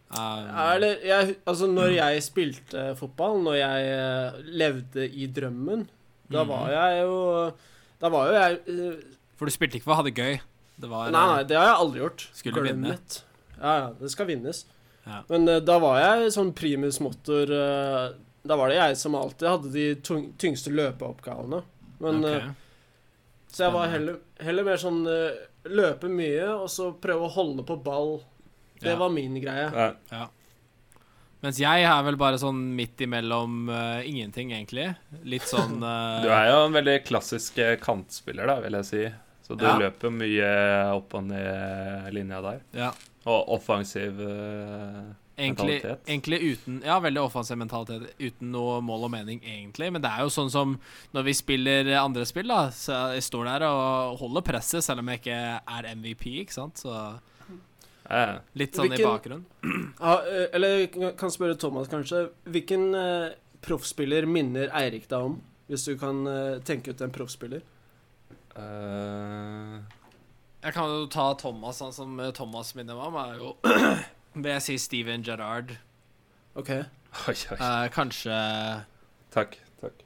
Speaker 4: Um,
Speaker 2: Eller, jeg, altså, når jeg spilte fotball, når jeg eh, levde i drømmen, da
Speaker 4: Mhm.
Speaker 2: var jeg jo Da var jo jeg eh,
Speaker 4: For du spilte ikke for å ha det gøy. Det var, eh,
Speaker 2: Nei, nei, det har jeg aldri gjort.
Speaker 4: Skulle
Speaker 2: Glem
Speaker 4: vinne.
Speaker 2: it. Ja, ja, det skal vinnes.
Speaker 4: Ja.
Speaker 2: Men eh, da var jeg sånn primus motor eh, Da var det jeg som alltid hadde de tung, tyngste løpeoppgavene. Men eh,
Speaker 4: Ok.
Speaker 2: Så jeg var heller,
Speaker 4: Spennende.
Speaker 2: heller mer sånn eh, løpe mye, og så prøve å holde på ball. Det
Speaker 4: Ja.
Speaker 2: var min greie.
Speaker 3: Ja.
Speaker 4: Mens jeg er vel bare sånn midt imellom eh, ingenting, egentlig. Litt sånn eh,
Speaker 3: Du er jo en veldig klassisk eh, kantspiller, da, vil jeg si. Så du
Speaker 4: Ja.
Speaker 3: løper jo mye opp og ned linja der.
Speaker 4: ja,
Speaker 3: Og offensiv eh,
Speaker 4: egentlig,
Speaker 3: Mentalitet.
Speaker 4: egentlig uten Ja, veldig offensiv mentalitet. Uten noe mål og mening, egentlig. Men det er jo sånn som når vi spiller andre spill, da. Så jeg står der og holder presset, selv om jeg ikke er MVP, ikke sant. Så
Speaker 3: Ja.
Speaker 4: Litt sånn i
Speaker 2: Hvilken-
Speaker 4: bakgrunnen.
Speaker 2: Ja, eh, eller kan- kan spørre Thomas, kanskje. Hvilken eh, proffspiller minner Eirik deg om? Hvis du kan eh, tenke ut en proffspiller.
Speaker 3: Eh,
Speaker 4: Jeg kan jo ta Thomas, han som eh, Thomas minner meg om, er jo Vil jeg si Steven Gerrard.
Speaker 2: OK.
Speaker 3: oi, oi.
Speaker 4: Eh, kanskje
Speaker 3: Takk. takk.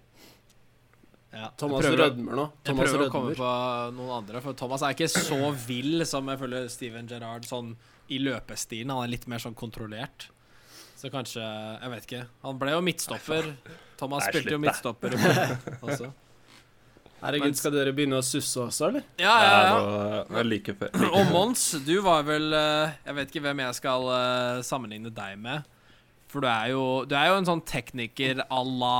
Speaker 4: ja,
Speaker 2: Thomas
Speaker 4: jeg prøver, å-
Speaker 2: rødmer nå.
Speaker 4: Jeg
Speaker 2: Thomas
Speaker 4: prøver å komme
Speaker 2: rødmer.
Speaker 4: på noen andre, for Thomas er ikke så vill som jeg føler Steven Gerrard sånn i løpestilen. Han er litt mer sånn kontrollert. Så kanskje Jeg vet ikke. Han ble jo midtstopper. Thomas
Speaker 3: Nei,
Speaker 4: spilte jo
Speaker 3: slutt,
Speaker 4: midtstopper også.
Speaker 2: Herregud, skal dere begynne å susse også, eller?
Speaker 4: Ja, ja, ja.
Speaker 3: Det var like før.
Speaker 4: Og Mons, du var vel eh, Jeg vet ikke hvem jeg skal eh, sammenligne deg med. For du er jo, du er jo en sånn tekniker à la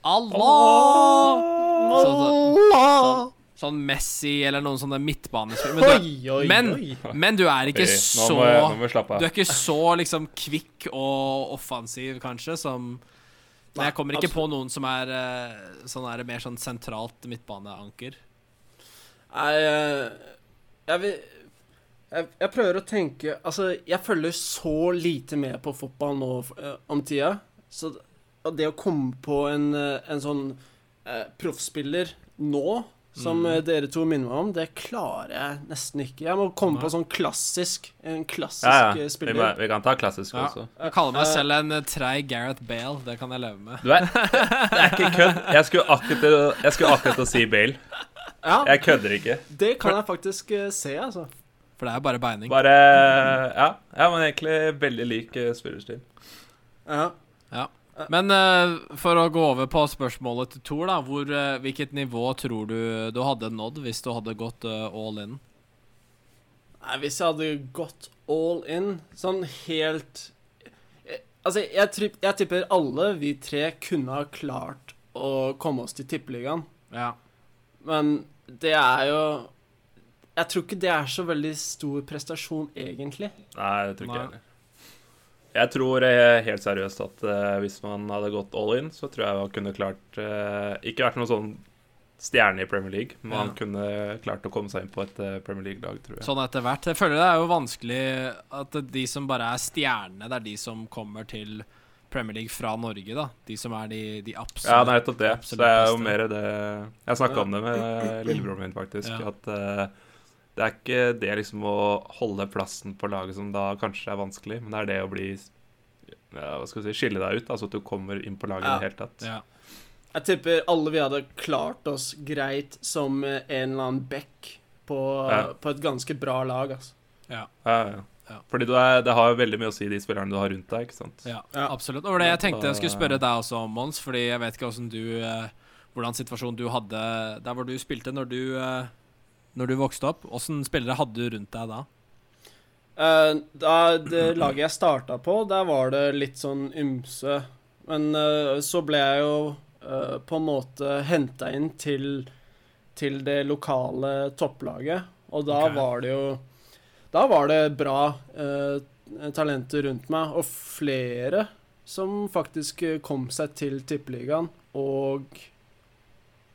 Speaker 4: Allah! Sånn, sånn, sånn, sånn Messi eller noen sånne midtbanespillere. Men,
Speaker 2: Oi, oi,
Speaker 4: men-
Speaker 2: oi.
Speaker 4: du er- men du er ikke
Speaker 3: Hei, nå
Speaker 4: så
Speaker 3: må jeg- Nå må vi slappe av.
Speaker 4: Du er ikke så liksom kvikk og offensiv, kanskje, som Men jeg kommer ikke på noen som er eh, sånn er det mer sånn sentralt midtbaneanker.
Speaker 2: Nei, eh, jeg vil jeg, jeg prøver å tenke Altså, jeg følger så lite med på fotball nå eh, om tida, så d- og det å komme på en, eh, en sånn eh, proffspiller nå,
Speaker 3: Mm.
Speaker 2: som eh, dere to minner meg om, det klarer jeg nesten ikke. Jeg må komme
Speaker 4: Nei.
Speaker 2: på sånn klassisk En klassisk
Speaker 3: Ja, ja.
Speaker 2: eh,
Speaker 3: Vi, må,
Speaker 2: spiller.
Speaker 3: vi kan ta klassisk
Speaker 4: Ja.
Speaker 3: også.
Speaker 4: Jeg kaller meg
Speaker 2: Eh,
Speaker 4: selv en eh, treig Gareth Bale. Det kan jeg leve med.
Speaker 3: Du er, det er ikke kødd. Jeg skulle akkurat til, å- jeg skulle akkurat til å si Bale.
Speaker 2: Ja,
Speaker 3: Jeg kødder ikke.
Speaker 2: det kan jeg faktisk eh, se, altså.
Speaker 4: For det er jo bare beining.
Speaker 3: Bare Ja, ja men egentlig veldig lik eh, spillerstil.
Speaker 2: Ja.
Speaker 4: Men eh, for å gå over på spørsmålet til Thor, da. Hvor, eh, hvilket nivå tror du du hadde nådd hvis du hadde gått eh, all in?
Speaker 2: Nei, hvis jeg hadde gått all in, sånn helt Eh, Altså, jeg, tripp- jeg tipper alle vi tre kunne ha klart å komme oss til tippeligaen,
Speaker 4: Ja.
Speaker 2: men det er jo Jeg tror ikke det er så veldig stor prestasjon, egentlig.
Speaker 3: Nei, det tror ikke
Speaker 4: Nei.
Speaker 3: jeg heller. Jeg tror eh, helt seriøst at eh, hvis man hadde gått all in, så tror jeg man kunne klart eh, Ikke vært noen sånn stjerne i Premier League, men man
Speaker 4: Ja.
Speaker 3: kunne klart å komme seg inn på et eh, Premier League-lag, tror jeg.
Speaker 4: Sånn etter hvert. Jeg føler det er jo vanskelig at de som bare er stjernene, det er de som kommer til Premier League fra Norge, da. De som er de, de absolutt
Speaker 3: Ja, det er nettopp det. Så
Speaker 4: absolutt
Speaker 3: det er jo
Speaker 4: beste.
Speaker 3: mer det Jeg snakka om det med lillebroren min, faktisk.
Speaker 4: Ja.
Speaker 3: At eh, det er ikke det liksom å holde plassen på laget som da kanskje er vanskelig, men det er det å bli ja, hva skal vi si, Skille deg ut, altså at du kommer inn på laget
Speaker 2: Ja.
Speaker 3: i det hele tatt.
Speaker 4: Ja.
Speaker 2: Jeg tipper alle vi hadde klart oss greit som eh, en eller annen back på,
Speaker 3: Ja.
Speaker 2: på et ganske bra lag, altså.
Speaker 3: Ja, ja.
Speaker 4: Ja.
Speaker 3: Fordi du er, det har jo veldig mye å si, de spillerne du har rundt deg, ikke sant.
Speaker 4: Ja,
Speaker 2: Ja.
Speaker 4: absolutt. Og det var det jeg tenkte jeg skulle
Speaker 3: Da-
Speaker 4: spørre deg også om, Mons, fordi jeg vet ikke hvordan du eh, Hvordan situasjonen du hadde der hvor du spilte når du eh, Når du vokste opp. Åssen spillere hadde du rundt deg da?
Speaker 2: Eh, da det laget jeg starta på, der var det litt sånn ymse. Men eh, så ble jeg jo eh, på en måte henta inn til, til det lokale topplaget. Og da
Speaker 4: Ok.
Speaker 2: var det jo Da var det bra eh, talenter rundt meg, og flere som faktisk eh, kom seg til Tippeligaen og,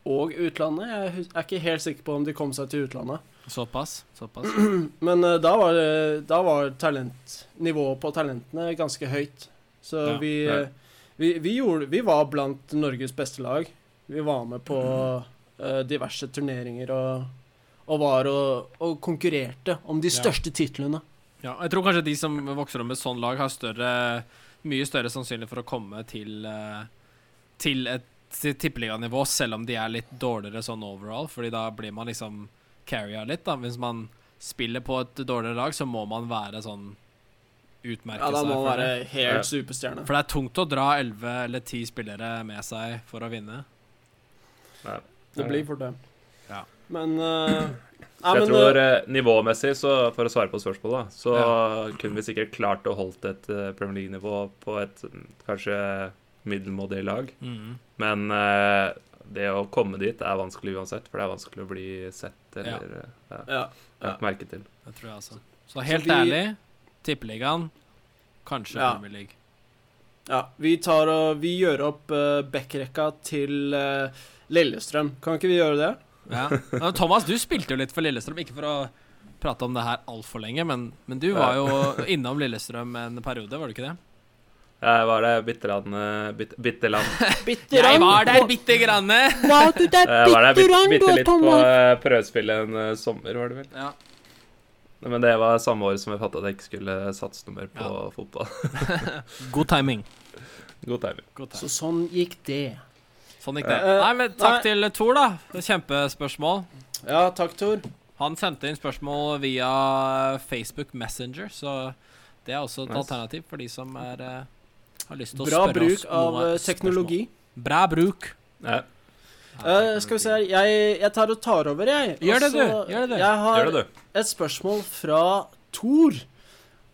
Speaker 2: og utlandet. Jeg hus- er ikke helt sikker på om de kom seg til utlandet.
Speaker 4: Såpass? Såpass.
Speaker 2: Men eh, da var, det- da var talent, nivået på talentene ganske høyt. Så
Speaker 4: Ja.
Speaker 2: vi,
Speaker 3: Ja.
Speaker 2: eh, vi, vi, gjorde, vi var blant Norges beste lag. Vi var med på
Speaker 4: Mm.
Speaker 2: eh, diverse turneringer og, og var og, og konkurrerte om de
Speaker 4: Ja.
Speaker 2: største titlene.
Speaker 4: Ja, og jeg tror kanskje de som vokser opp med sånn lag, har større, mye større sannsynlighet for å komme til, eh, til et til tippeliganivå, selv om de er litt dårligere sånn overall, fordi da blir man liksom carrier litt, da. Hvis man spiller på et dårligere lag, så må man være sånn Utmerke
Speaker 2: Ja, da
Speaker 4: seg.
Speaker 2: må man
Speaker 4: for det.
Speaker 2: være
Speaker 3: Ja.
Speaker 2: helt superstjerne.
Speaker 4: For det er tungt å dra 11 eller 10 spillere med seg for å vinne.
Speaker 2: Det blir fort det.
Speaker 4: Ja.
Speaker 2: Men eh,
Speaker 3: Så
Speaker 2: nei,
Speaker 3: jeg
Speaker 2: men,
Speaker 3: tror
Speaker 2: eh,
Speaker 3: eh, nivåmessig, så for å svare på spørsmålet, da, så kunne vi sikkert klart å holdt et eh, Premier League-nivå på et mm, kanskje middelmådig lag. Men eh, det å komme dit er vanskelig uansett, for det er vanskelig å bli sett eller eh, ja.
Speaker 2: ja.
Speaker 3: lagt merke til.
Speaker 4: Det tror jeg altså. Så helt
Speaker 2: vi-
Speaker 4: ærlig, tippeligaen, kanskje
Speaker 2: Ja.
Speaker 4: Premier League.
Speaker 2: Ja, vi, tar og, vi gjør opp uh, backrekka til eh, Lillestrøm. Kan ikke vi gjøre det?
Speaker 4: Ja. Men Thomas, du spilte jo litt for Lillestrøm, ikke for å prata om det her altfor lenge, men, men du
Speaker 3: Ja.
Speaker 4: var jo innom Lillestrøm en periode, var du ikke det?
Speaker 3: Jeg var der bitte land, eh, bitte, bitte land.
Speaker 2: Bitte
Speaker 4: Jeg var der bitte grann!
Speaker 2: Var du der
Speaker 3: Jeg var der bitte, bitte litt på
Speaker 2: Thomas?
Speaker 3: eh, prøvespill en eh, sommer, var det vel.
Speaker 4: Ja.
Speaker 3: Men det var samme år som jeg fattet at jeg ikke skulle satse noe mer på fotball.
Speaker 4: God timing.
Speaker 3: God timing.
Speaker 4: God timing.
Speaker 2: Så sånn gikk det.
Speaker 4: Sånn gikk det.
Speaker 2: Eh,
Speaker 4: Nei, men
Speaker 2: nei.
Speaker 4: takk til Tor, da. Det er Kjempespørsmål.
Speaker 2: Ja, takk, Tor.
Speaker 4: Han sendte inn spørsmål via Facebook Messenger, så det er også et
Speaker 3: Nice.
Speaker 4: alternativ for de som er, eh, har lyst til å
Speaker 2: Bra
Speaker 4: spørre
Speaker 2: bruk
Speaker 4: oss
Speaker 2: av
Speaker 4: noe
Speaker 2: eh,
Speaker 4: spørsmål.
Speaker 2: teknologi.
Speaker 4: Bra bruk.
Speaker 3: Ja.
Speaker 2: Eh, skal vi se her Jeg, jeg tar og tar over, jeg. Og
Speaker 4: Gjør det, du.
Speaker 2: så-
Speaker 4: Gjør det, du.
Speaker 2: Jeg har
Speaker 3: Gjør det, du.
Speaker 2: et spørsmål fra Tor.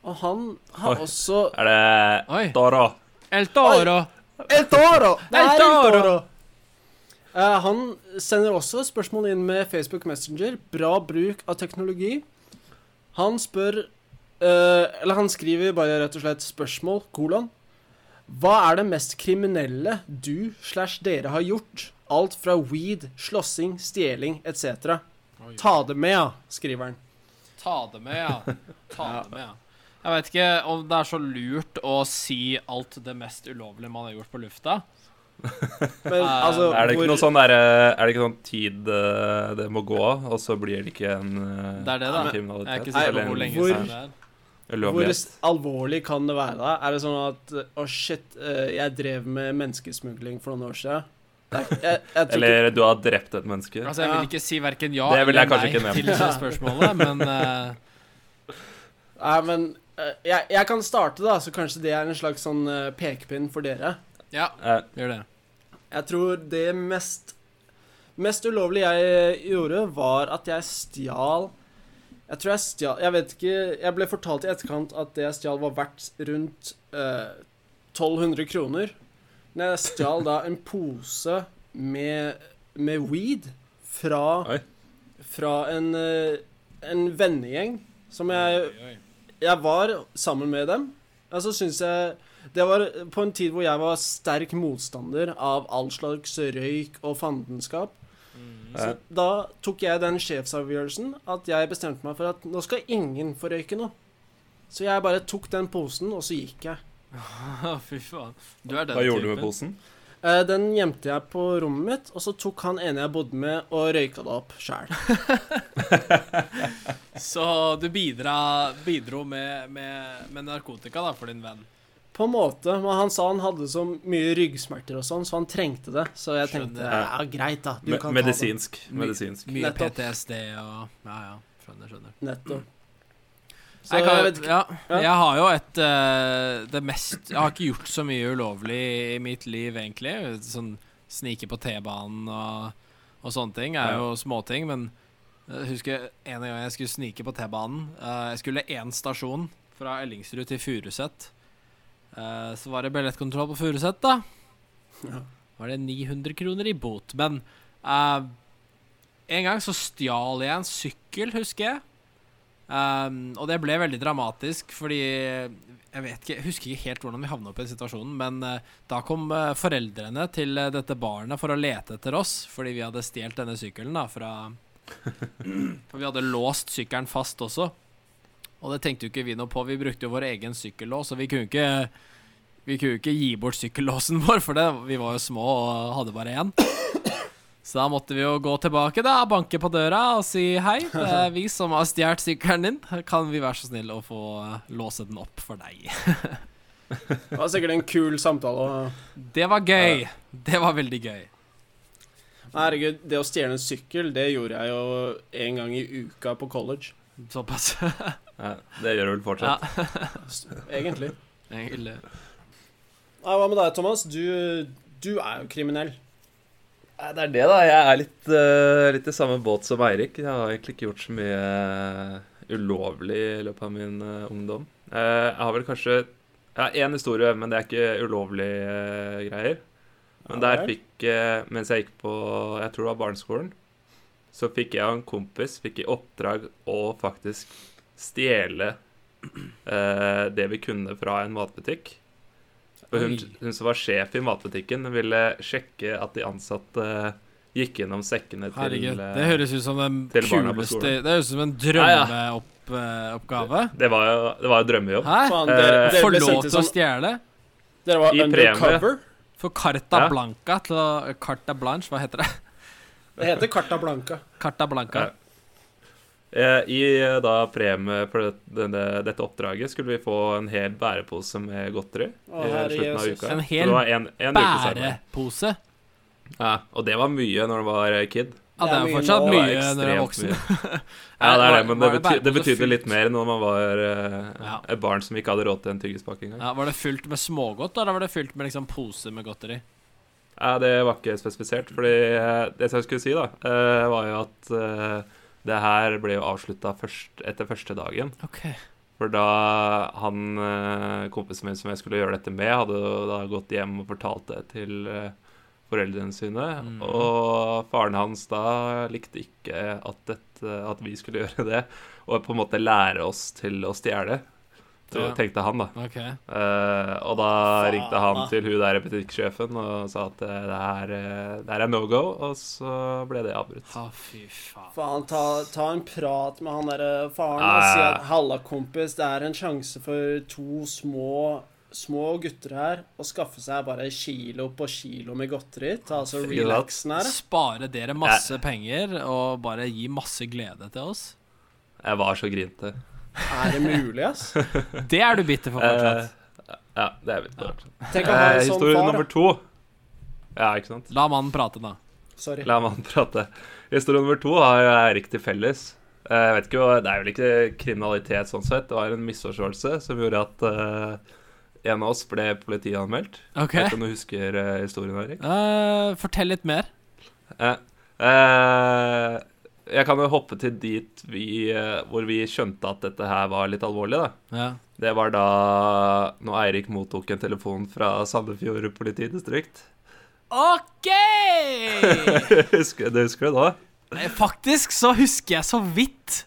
Speaker 2: Og han har
Speaker 3: Oi.
Speaker 2: også
Speaker 3: Er det
Speaker 4: Oi.
Speaker 3: Dara?
Speaker 4: El Toro.
Speaker 2: El Toro! Det er
Speaker 4: El Toro.
Speaker 2: Eh, han sender også spørsmål inn med Facebook Messenger. Bra bruk av teknologi. Han spør eh, Eller han skriver bare rett og slett spørsmål, kolon. Hva er det mest kriminelle du slash dere har gjort? Alt fra weed, slåssing, stjeling etc.
Speaker 4: Oi.
Speaker 2: Ta det med, ja, skriver han.
Speaker 4: Ta det med, ja. Ta det med, ja. Jeg vet ikke om det er så lurt å si alt det mest ulovlige man har gjort på lufta.
Speaker 2: Men
Speaker 4: Eh,
Speaker 2: altså
Speaker 3: Er det
Speaker 2: hvor-
Speaker 3: ikke noe sånn der, eh, Er det ikke sånn tid eh, det må gå av, og så blir det ikke en eh,
Speaker 4: Det er det, da.
Speaker 3: en
Speaker 4: Jeg er
Speaker 3: kriminalitet?
Speaker 4: ikke sikker
Speaker 3: eller
Speaker 4: på
Speaker 3: en
Speaker 4: hvor lenge
Speaker 2: Hvor-
Speaker 4: siden det er.
Speaker 2: Hvor
Speaker 3: ulovlighet.
Speaker 2: s- alvorlig kan det være? da? Er det sånn at Å, shit, eh, jeg drev med menneskesmugling for noen år siden. Jeg, jeg, jeg tror ikke
Speaker 3: Eller du har drept et menneske.
Speaker 4: Altså, jeg vil ikke si verken ja
Speaker 3: Det vil jeg
Speaker 4: eller
Speaker 3: kanskje
Speaker 4: nei
Speaker 3: ikke nevne.
Speaker 4: til det spørsmålet, men eh,
Speaker 2: Nei, men eh, jeg, jeg kan starte, da, så kanskje det er en slags sånn eh, pekepinn for dere.
Speaker 4: ja,
Speaker 3: Eh,
Speaker 4: gjør det.
Speaker 2: Jeg tror det mest Mest ulovlige jeg gjorde, var at jeg stjal Jeg tror jeg stjal Jeg vet ikke Jeg ble fortalt i etterkant at det jeg stjal, var verdt rundt eh, 1200 kroner. Men jeg stjal da en pose med, med weed fra
Speaker 3: Oi.
Speaker 2: Fra en, eh, en vennegjeng som jeg
Speaker 4: Oi, oi.
Speaker 2: jeg var sammen med dem. Og så syns jeg Det var på en tid hvor jeg var sterk motstander av all slags røyk og fandenskap. Så
Speaker 3: Ja.
Speaker 2: da tok jeg den sjefsavgjørelsen at jeg bestemte meg for at nå skal ingen få røyke nå. Så jeg bare tok den posen, og så gikk jeg.
Speaker 4: Å, Ah, Fy faen. Du er den
Speaker 3: hva gjorde du med
Speaker 4: typen.
Speaker 3: posen?
Speaker 2: Eh, Den gjemte jeg på rommet mitt, og så tok han ene jeg bodde med, og røyka det opp sjæl.
Speaker 4: Så du bidra, bidro med, med, med narkotika da, for din venn.
Speaker 2: På en måte. Men han sa han hadde så mye ryggsmerter og sånn, så han trengte det. Så jeg tenkte
Speaker 3: Skjønner.
Speaker 2: ja, greit, da. Du
Speaker 3: Me
Speaker 2: kan ta det.
Speaker 3: medisinsk. medisinsk.
Speaker 4: Mye
Speaker 2: Nettopp.
Speaker 4: PTSD og Ja, ja. Skjønner, skjønner.
Speaker 2: Nettopp. Så
Speaker 4: Jeg,
Speaker 2: jeg,
Speaker 4: kan,
Speaker 2: vet ikke
Speaker 4: ja,
Speaker 2: Ja.
Speaker 4: jeg har jo et eh, Det mest Jeg har ikke gjort så mye ulovlig i mitt liv, egentlig. Sånn snike på T-banen og, og sånne ting er
Speaker 3: Ja.
Speaker 4: jo småting, men jeg husker en gang jeg skulle snike på T-banen. eh, jeg skulle én stasjon fra Ellingsrud til Furuset. Eh, så var det billettkontroll på Furuset, da.
Speaker 2: Ja.
Speaker 4: Var det 900 kroner i bot. Men eh, en gang så stjal jeg en sykkel, husker jeg. Ehm, og det ble veldig dramatisk, fordi eh, Jeg vet ikke, jeg husker ikke helt hvordan vi havna opp i den situasjonen, men eh, da kom eh, foreldrene til eh, dette barnet for å lete etter oss, fordi vi hadde stjålet denne sykkelen da, fra For vi hadde låst sykkelen fast også. Og det tenkte jo ikke vi noe på. Vi brukte jo vår egen sykkellås, og vi kunne ikke Vi kunne jo ikke gi bort sykkellåsen vår, for det, vi var jo små og hadde bare én. Så da måtte vi jo gå tilbake, da, banke på døra og si hei. Det er vi som har stjålet sykkelen din. Kan vi være så snill å få eh, låse den opp for deg?
Speaker 2: Det var sikkert en kul samtale. Og...
Speaker 4: Det var gøy. Det var veldig gøy.
Speaker 2: Nei, Herregud, det å stjele en sykkel, det gjorde jeg jo en gang i uka på college.
Speaker 4: Såpass.
Speaker 3: Ja, Eh, det gjør du vel
Speaker 4: Ja.
Speaker 3: fortsatt.
Speaker 2: S- Egentlig.
Speaker 4: Egentlig.
Speaker 2: Nei, hva med deg, Thomas? Du, du er jo kriminell.
Speaker 3: Nei, Det er det, da. Jeg er litt, eh, litt i samme båt som Eirik. Jeg har egentlig ikke gjort så mye eh, ulovlig i løpet av min eh, ungdom. Eh, jeg har vel kanskje Jeg har én historie, men det er ikke ulovlige eh, greier. Men
Speaker 2: Ja
Speaker 3: der
Speaker 2: vel.
Speaker 3: fikk eh, Mens jeg gikk på Jeg tror det var barneskolen, så fikk jeg og en kompis fikk i oppdrag å faktisk stjele eh, det vi kunne fra en matbutikk. For hun,
Speaker 4: Oi.
Speaker 3: hun som var sjef i matbutikken, ville sjekke at de ansatte gikk gjennom sekkene til
Speaker 4: Herregud,
Speaker 3: eh,
Speaker 4: det høres ut som den
Speaker 3: til barna på
Speaker 4: kuleste
Speaker 3: skolen.
Speaker 4: Det høres ut som en
Speaker 3: Ja,
Speaker 4: drømmeoppgave.
Speaker 3: det var jo det var jo drømmejobb.
Speaker 4: Hæ?
Speaker 2: Faen,
Speaker 3: Eh,
Speaker 2: dere, dere
Speaker 4: Få
Speaker 2: ble
Speaker 4: lov
Speaker 2: sendt ut
Speaker 4: til å
Speaker 2: som
Speaker 4: stjele?
Speaker 2: Dere var
Speaker 3: I premie.
Speaker 2: undercover.
Speaker 4: For Carta
Speaker 3: Ja.
Speaker 4: Blanca til å Carta Blanche, hva heter det?
Speaker 2: Det heter Carta Blanca.
Speaker 4: Carta Blanca.
Speaker 3: Ja. Eh, I eh, da premie for det, denne, dette oppdraget skulle vi få en hel bærepose med godteri.
Speaker 2: Å,
Speaker 3: i
Speaker 2: herre
Speaker 3: Eh, slutten av
Speaker 2: Jesus.
Speaker 3: uka.
Speaker 4: En
Speaker 3: Så
Speaker 4: hel
Speaker 3: det var en, en uke senere.
Speaker 4: Bærepose.
Speaker 3: Ja, og det var mye når du var eh, kid.
Speaker 4: Ja, det er
Speaker 2: Det
Speaker 4: jo
Speaker 2: er
Speaker 4: fortsatt
Speaker 2: mye nå.
Speaker 3: var
Speaker 4: mye når du er
Speaker 3: ekstremt
Speaker 4: voksen.
Speaker 3: mye. Ja, det er det,
Speaker 4: Var-
Speaker 3: men
Speaker 4: var
Speaker 3: det,
Speaker 4: det
Speaker 3: bety det
Speaker 4: bærepose
Speaker 3: betydde litt
Speaker 4: fylt?
Speaker 3: mer når man var eh,
Speaker 4: Ja.
Speaker 3: et barn som ikke hadde råd til en tyggispakke engang. Ja.
Speaker 4: Ja, Var det fylt med smågodt, eller var det fylt med liksom pose med godteri?
Speaker 3: det var ikke spesifisert. Fordi eh, det som jeg skulle si, da, eh, var jo at eh, det her ble jo avslutta først, etter første dagen.
Speaker 4: Ok
Speaker 3: For da han eh, kompisen min som jeg skulle gjøre dette med, hadde jo da gått hjem og fortalt det til eh, foreldrene sine.
Speaker 4: Mm.
Speaker 3: Og faren hans da likte ikke at, dette, at vi skulle gjøre det, og på en måte lære oss til å stjele. Så
Speaker 4: Ja.
Speaker 3: tenkte han, da.
Speaker 4: Ok
Speaker 3: Eh, og da
Speaker 2: Faen,
Speaker 3: ringte han
Speaker 2: da.
Speaker 3: til hun der butikksjefen og sa at eh, det her, eh, det her er no go, og så ble det avbrutt.
Speaker 4: Å, fy faen.
Speaker 2: Faen, ta, ta en prat med han derre faren
Speaker 3: Ja,
Speaker 2: og si
Speaker 3: ja, ja.
Speaker 2: at 'halla, kompis, det er en sjanse for to små Små gutter her å skaffe seg bare kilo på kilo med godteri. Ta altså
Speaker 3: Ikke sant?
Speaker 2: relaxen her.
Speaker 4: Spare dere masse penger og bare gi masse glede til oss.
Speaker 3: Jeg var så grinte.
Speaker 2: Er det mulig, ass?
Speaker 4: Det er du bitter for
Speaker 3: Eh,
Speaker 4: fortsatt.
Speaker 3: ja, det er vi.
Speaker 2: Tenk å ha
Speaker 3: Eh,
Speaker 2: en sånn
Speaker 3: historie
Speaker 2: far.
Speaker 3: nummer
Speaker 2: da.
Speaker 3: to. Ja, ikke sant?
Speaker 4: La mannen prate, da.
Speaker 2: Sorry.
Speaker 3: La meg prate. Historie nummer to har jo Erik til felles. Eh, Jeg vet ikke, hva- Det er vel ikke kriminalitet sånn sett. Det var en misforståelse som gjorde at eh, en av oss ble politianmeldt.
Speaker 4: Ok.
Speaker 3: Jeg vet ikke om du husker eh, historien, Erik?
Speaker 4: Eh, fortell litt mer.
Speaker 3: Ja. Eh, jeg kan jo hoppe til dit vi, eh, hvor vi skjønte at dette her var litt alvorlig. da.
Speaker 4: Ja.
Speaker 3: Det var da når Eirik mottok en telefon fra Sandefjord politidistrikt.
Speaker 4: OK!
Speaker 3: husker, du husker det da?
Speaker 4: Eh, Faktisk så husker jeg så vidt.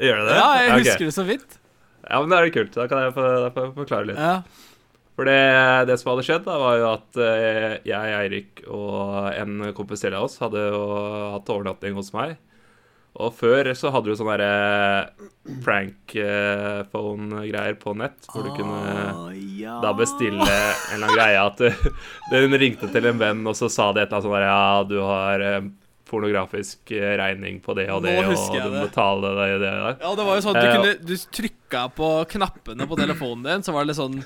Speaker 3: Gjør du det?
Speaker 4: Ja, jeg
Speaker 3: Ok.
Speaker 4: husker det så vidt.
Speaker 3: Ja, men Da er det kult. Da kan jeg få, da får jeg forklare litt.
Speaker 4: Ja.
Speaker 3: For det, det som hadde skjedd, da, var jo at eh, jeg, Eirik og en kompis til av oss hadde jo hatt overnatting hos meg. Og før så hadde du sånne derre prankphone-greier på nett, hvor
Speaker 4: Ah,
Speaker 3: du kunne da bestille en eller annen greie at du, den ringte til en venn, og så sa de et eller annet sånn der Ja, du har eh, pornografisk eh, regning på det og
Speaker 4: Nå
Speaker 3: det, og
Speaker 4: husker jeg
Speaker 3: du må
Speaker 4: det.
Speaker 3: betale det og det. og det.
Speaker 4: Ja, det var jo sånn at
Speaker 3: Eh,
Speaker 4: du kunne Du trykka på knappene på telefonen din, så var det litt sånn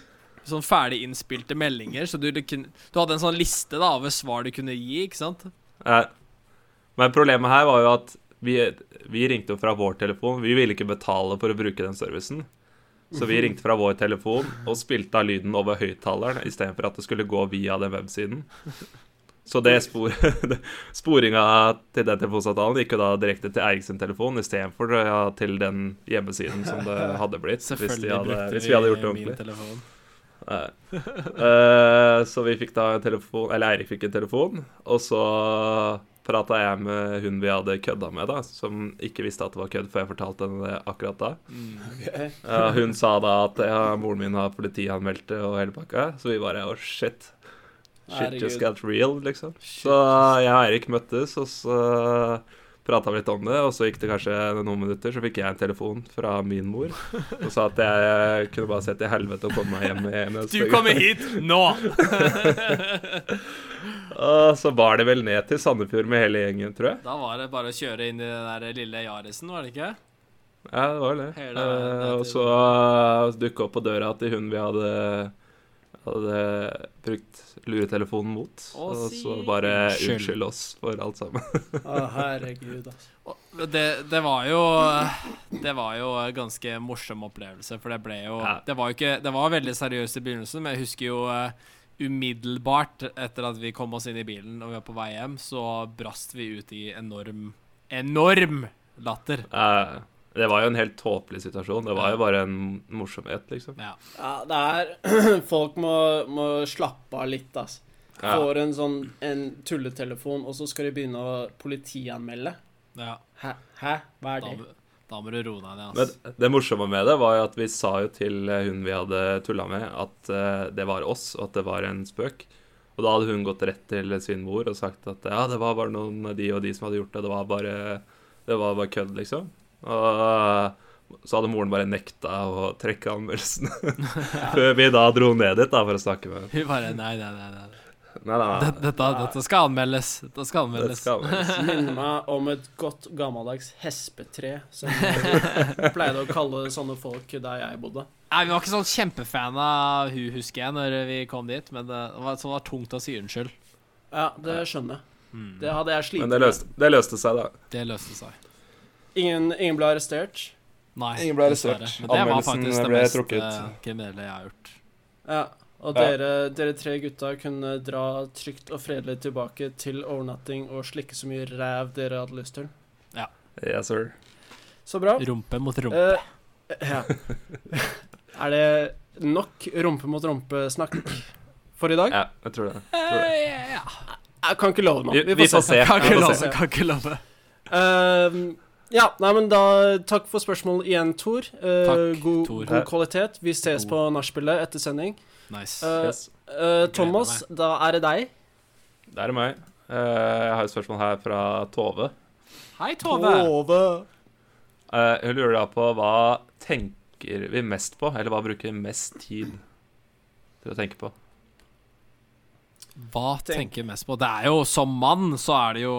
Speaker 4: Sånn ferdig innspilte meldinger, så du, du, kunne, du hadde en sånn liste da over svar du kunne gi, ikke sant?
Speaker 3: Nei. Eh, Men problemet her var jo at vi, vi ringte jo fra vår telefon. Vi ville ikke betale for å bruke den servicen. Så
Speaker 4: Mhm.
Speaker 3: vi ringte fra vår telefon og spilte av lyden over høyttaleren istedenfor at det skulle gå via den websiden. Så det spor, sporinga til den telefonsamtalen gikk jo da direkte til Eirik sin telefon istedenfor ja, til den hjemmesiden som det hadde blitt. Hvis, de
Speaker 4: Selvfølgelig
Speaker 3: hadde,
Speaker 4: brukte
Speaker 3: hvis vi hadde gjort det
Speaker 4: min
Speaker 3: ordentlig.
Speaker 4: telefon.
Speaker 3: Nei. Eh, så vi fikk da en telefon Eller Eirik fikk en telefon, og så prata jeg med hun vi hadde kødda med, da, som ikke visste at det var kødd før jeg fortalte henne det akkurat da.
Speaker 4: Mm,
Speaker 2: Ok.
Speaker 3: Eh, hun sa da at ja, moren min har politianmeldt det og hele pakka, så vi bare Å, shit. Shit just
Speaker 2: Herregud.
Speaker 3: got real, liksom.
Speaker 4: Shit.
Speaker 3: Så jeg og Eirik møttes, og så prata vi litt om det. Og så gikk det kanskje noen minutter, så fikk jeg en telefon fra min mor og sa at jeg kunne bare se til helvete og komme meg hjem igjen.
Speaker 4: Du kommer hit nå!
Speaker 3: Og Ah, så bar det vel ned til Sandefjord med hele gjengen, tror jeg.
Speaker 4: Da var det bare å kjøre inn i den der lille Yarisen, var det ikke?
Speaker 3: Ja, det var det.
Speaker 4: Hele veien ned
Speaker 3: Eh,
Speaker 4: til-
Speaker 3: og så dukka opp på døra til hun vi hadde, hadde brukt luretelefonen mot.
Speaker 4: Å,
Speaker 3: og
Speaker 4: si-
Speaker 3: så bare
Speaker 4: Unnskyld.
Speaker 3: unnskyld oss for alt sammen.
Speaker 2: Å, herregud, ass.
Speaker 4: Og Det, det var jo Det var jo en ganske morsom opplevelse, for det ble jo
Speaker 3: Ja.
Speaker 4: Det var jo ikke Det var veldig seriøst i begynnelsen, men jeg husker jo eh, umiddelbart etter at vi kom oss inn i bilen og vi var på vei hjem, så brast vi ut i enorm Enorm latter.
Speaker 3: Eh, det var jo en helt tåpelig situasjon. Det var jo bare en morsomhet, liksom.
Speaker 4: Ja.
Speaker 2: Ja, det er Folk må, må slappe av litt, ass.
Speaker 3: Ja.
Speaker 2: Får en sånn en tulletelefon, og så skal de begynne å politianmelde.
Speaker 4: ja.
Speaker 2: Hæ? Hæ? Hva er
Speaker 4: Da,
Speaker 2: det?
Speaker 4: må- da må du roe deg ned,
Speaker 3: Men
Speaker 4: altså.
Speaker 3: det morsomme med det var jo at vi eh, sa jo til hun vi hadde tulla med, at eh, det var oss, og at det var en spøk. Og da hadde hun gått rett til sin mor og sagt at ja, det var bare noen av de og de som hadde gjort det, det var bare, det var bare kødd, liksom. Og så hadde moren bare nekta å trekke anmeldelsen. Før vi da dro ned dit da, for å snakke med henne.
Speaker 4: Hun bare Nei, nei, nei. nei.
Speaker 3: Nei, nei, nei.
Speaker 4: Dette, dette, dette skal anmeldes. Dette skal
Speaker 3: Det
Speaker 4: anmeldes.
Speaker 3: skal vi.
Speaker 2: Minner meg om et godt gammeldags hespetre, som pleide å kalle sånne folk der jeg bodde.
Speaker 4: Nei, Vi var ikke sånn kjempefan av hun, husker jeg, når vi kom dit. Men det var, så det var tungt å si unnskyld.
Speaker 2: Ja, det skjønner jeg. Det hadde jeg slitt
Speaker 3: Men det løste, det løste seg, da.
Speaker 4: Det løste seg.
Speaker 2: Ingen, ingen ble arrestert.
Speaker 4: Nei.
Speaker 3: Ingen ble
Speaker 4: dessverre.
Speaker 3: arrestert.
Speaker 4: Men det var
Speaker 3: Anmeldelsen
Speaker 4: faktisk det
Speaker 3: ble
Speaker 4: mest
Speaker 3: trukket.
Speaker 4: eh, kriminelle jeg har gjort.
Speaker 2: Ja, og
Speaker 3: Ja.
Speaker 2: dere, dere tre gutta kunne dra trygt og fredelig tilbake til overnatting og slikke så mye ræv dere hadde lyst til.
Speaker 3: Yes, sir.
Speaker 2: Så bra.
Speaker 4: Rumpe mot rumpe.
Speaker 2: Eh, ja. Er det nok rumpe mot rumpe-snakk for i dag?
Speaker 3: Ja, jeg tror det. Jeg tror det.
Speaker 4: Eh, ja, ja.
Speaker 2: Jeg kan ikke love noe.
Speaker 3: Vi, vi får se.
Speaker 4: Kan
Speaker 3: Vi
Speaker 4: ikke
Speaker 3: får
Speaker 4: love,
Speaker 3: se.
Speaker 4: kan ikke love.
Speaker 2: Ehm, ja, nei, men da Takk for spørsmål igjen, Tor. Eh,
Speaker 4: Takk,
Speaker 2: god,
Speaker 4: Tor.
Speaker 2: god kvalitet. Vi ses
Speaker 4: God.
Speaker 2: på nachspielet etter sending.
Speaker 4: Nice.
Speaker 2: Eh,
Speaker 3: Yes.
Speaker 2: eh, Thomas, da er det deg.
Speaker 3: Det er meg. Eh, Jeg har et spørsmål her fra Tove.
Speaker 4: Hei, Tove.
Speaker 3: Eh, Hun lurer da på hva tenker vi mest på, eller hva bruker vi mest tid til å tenke på?
Speaker 4: Hva
Speaker 2: Tenk-
Speaker 4: tenker jeg mest på? Det er jo Som mann så er det jo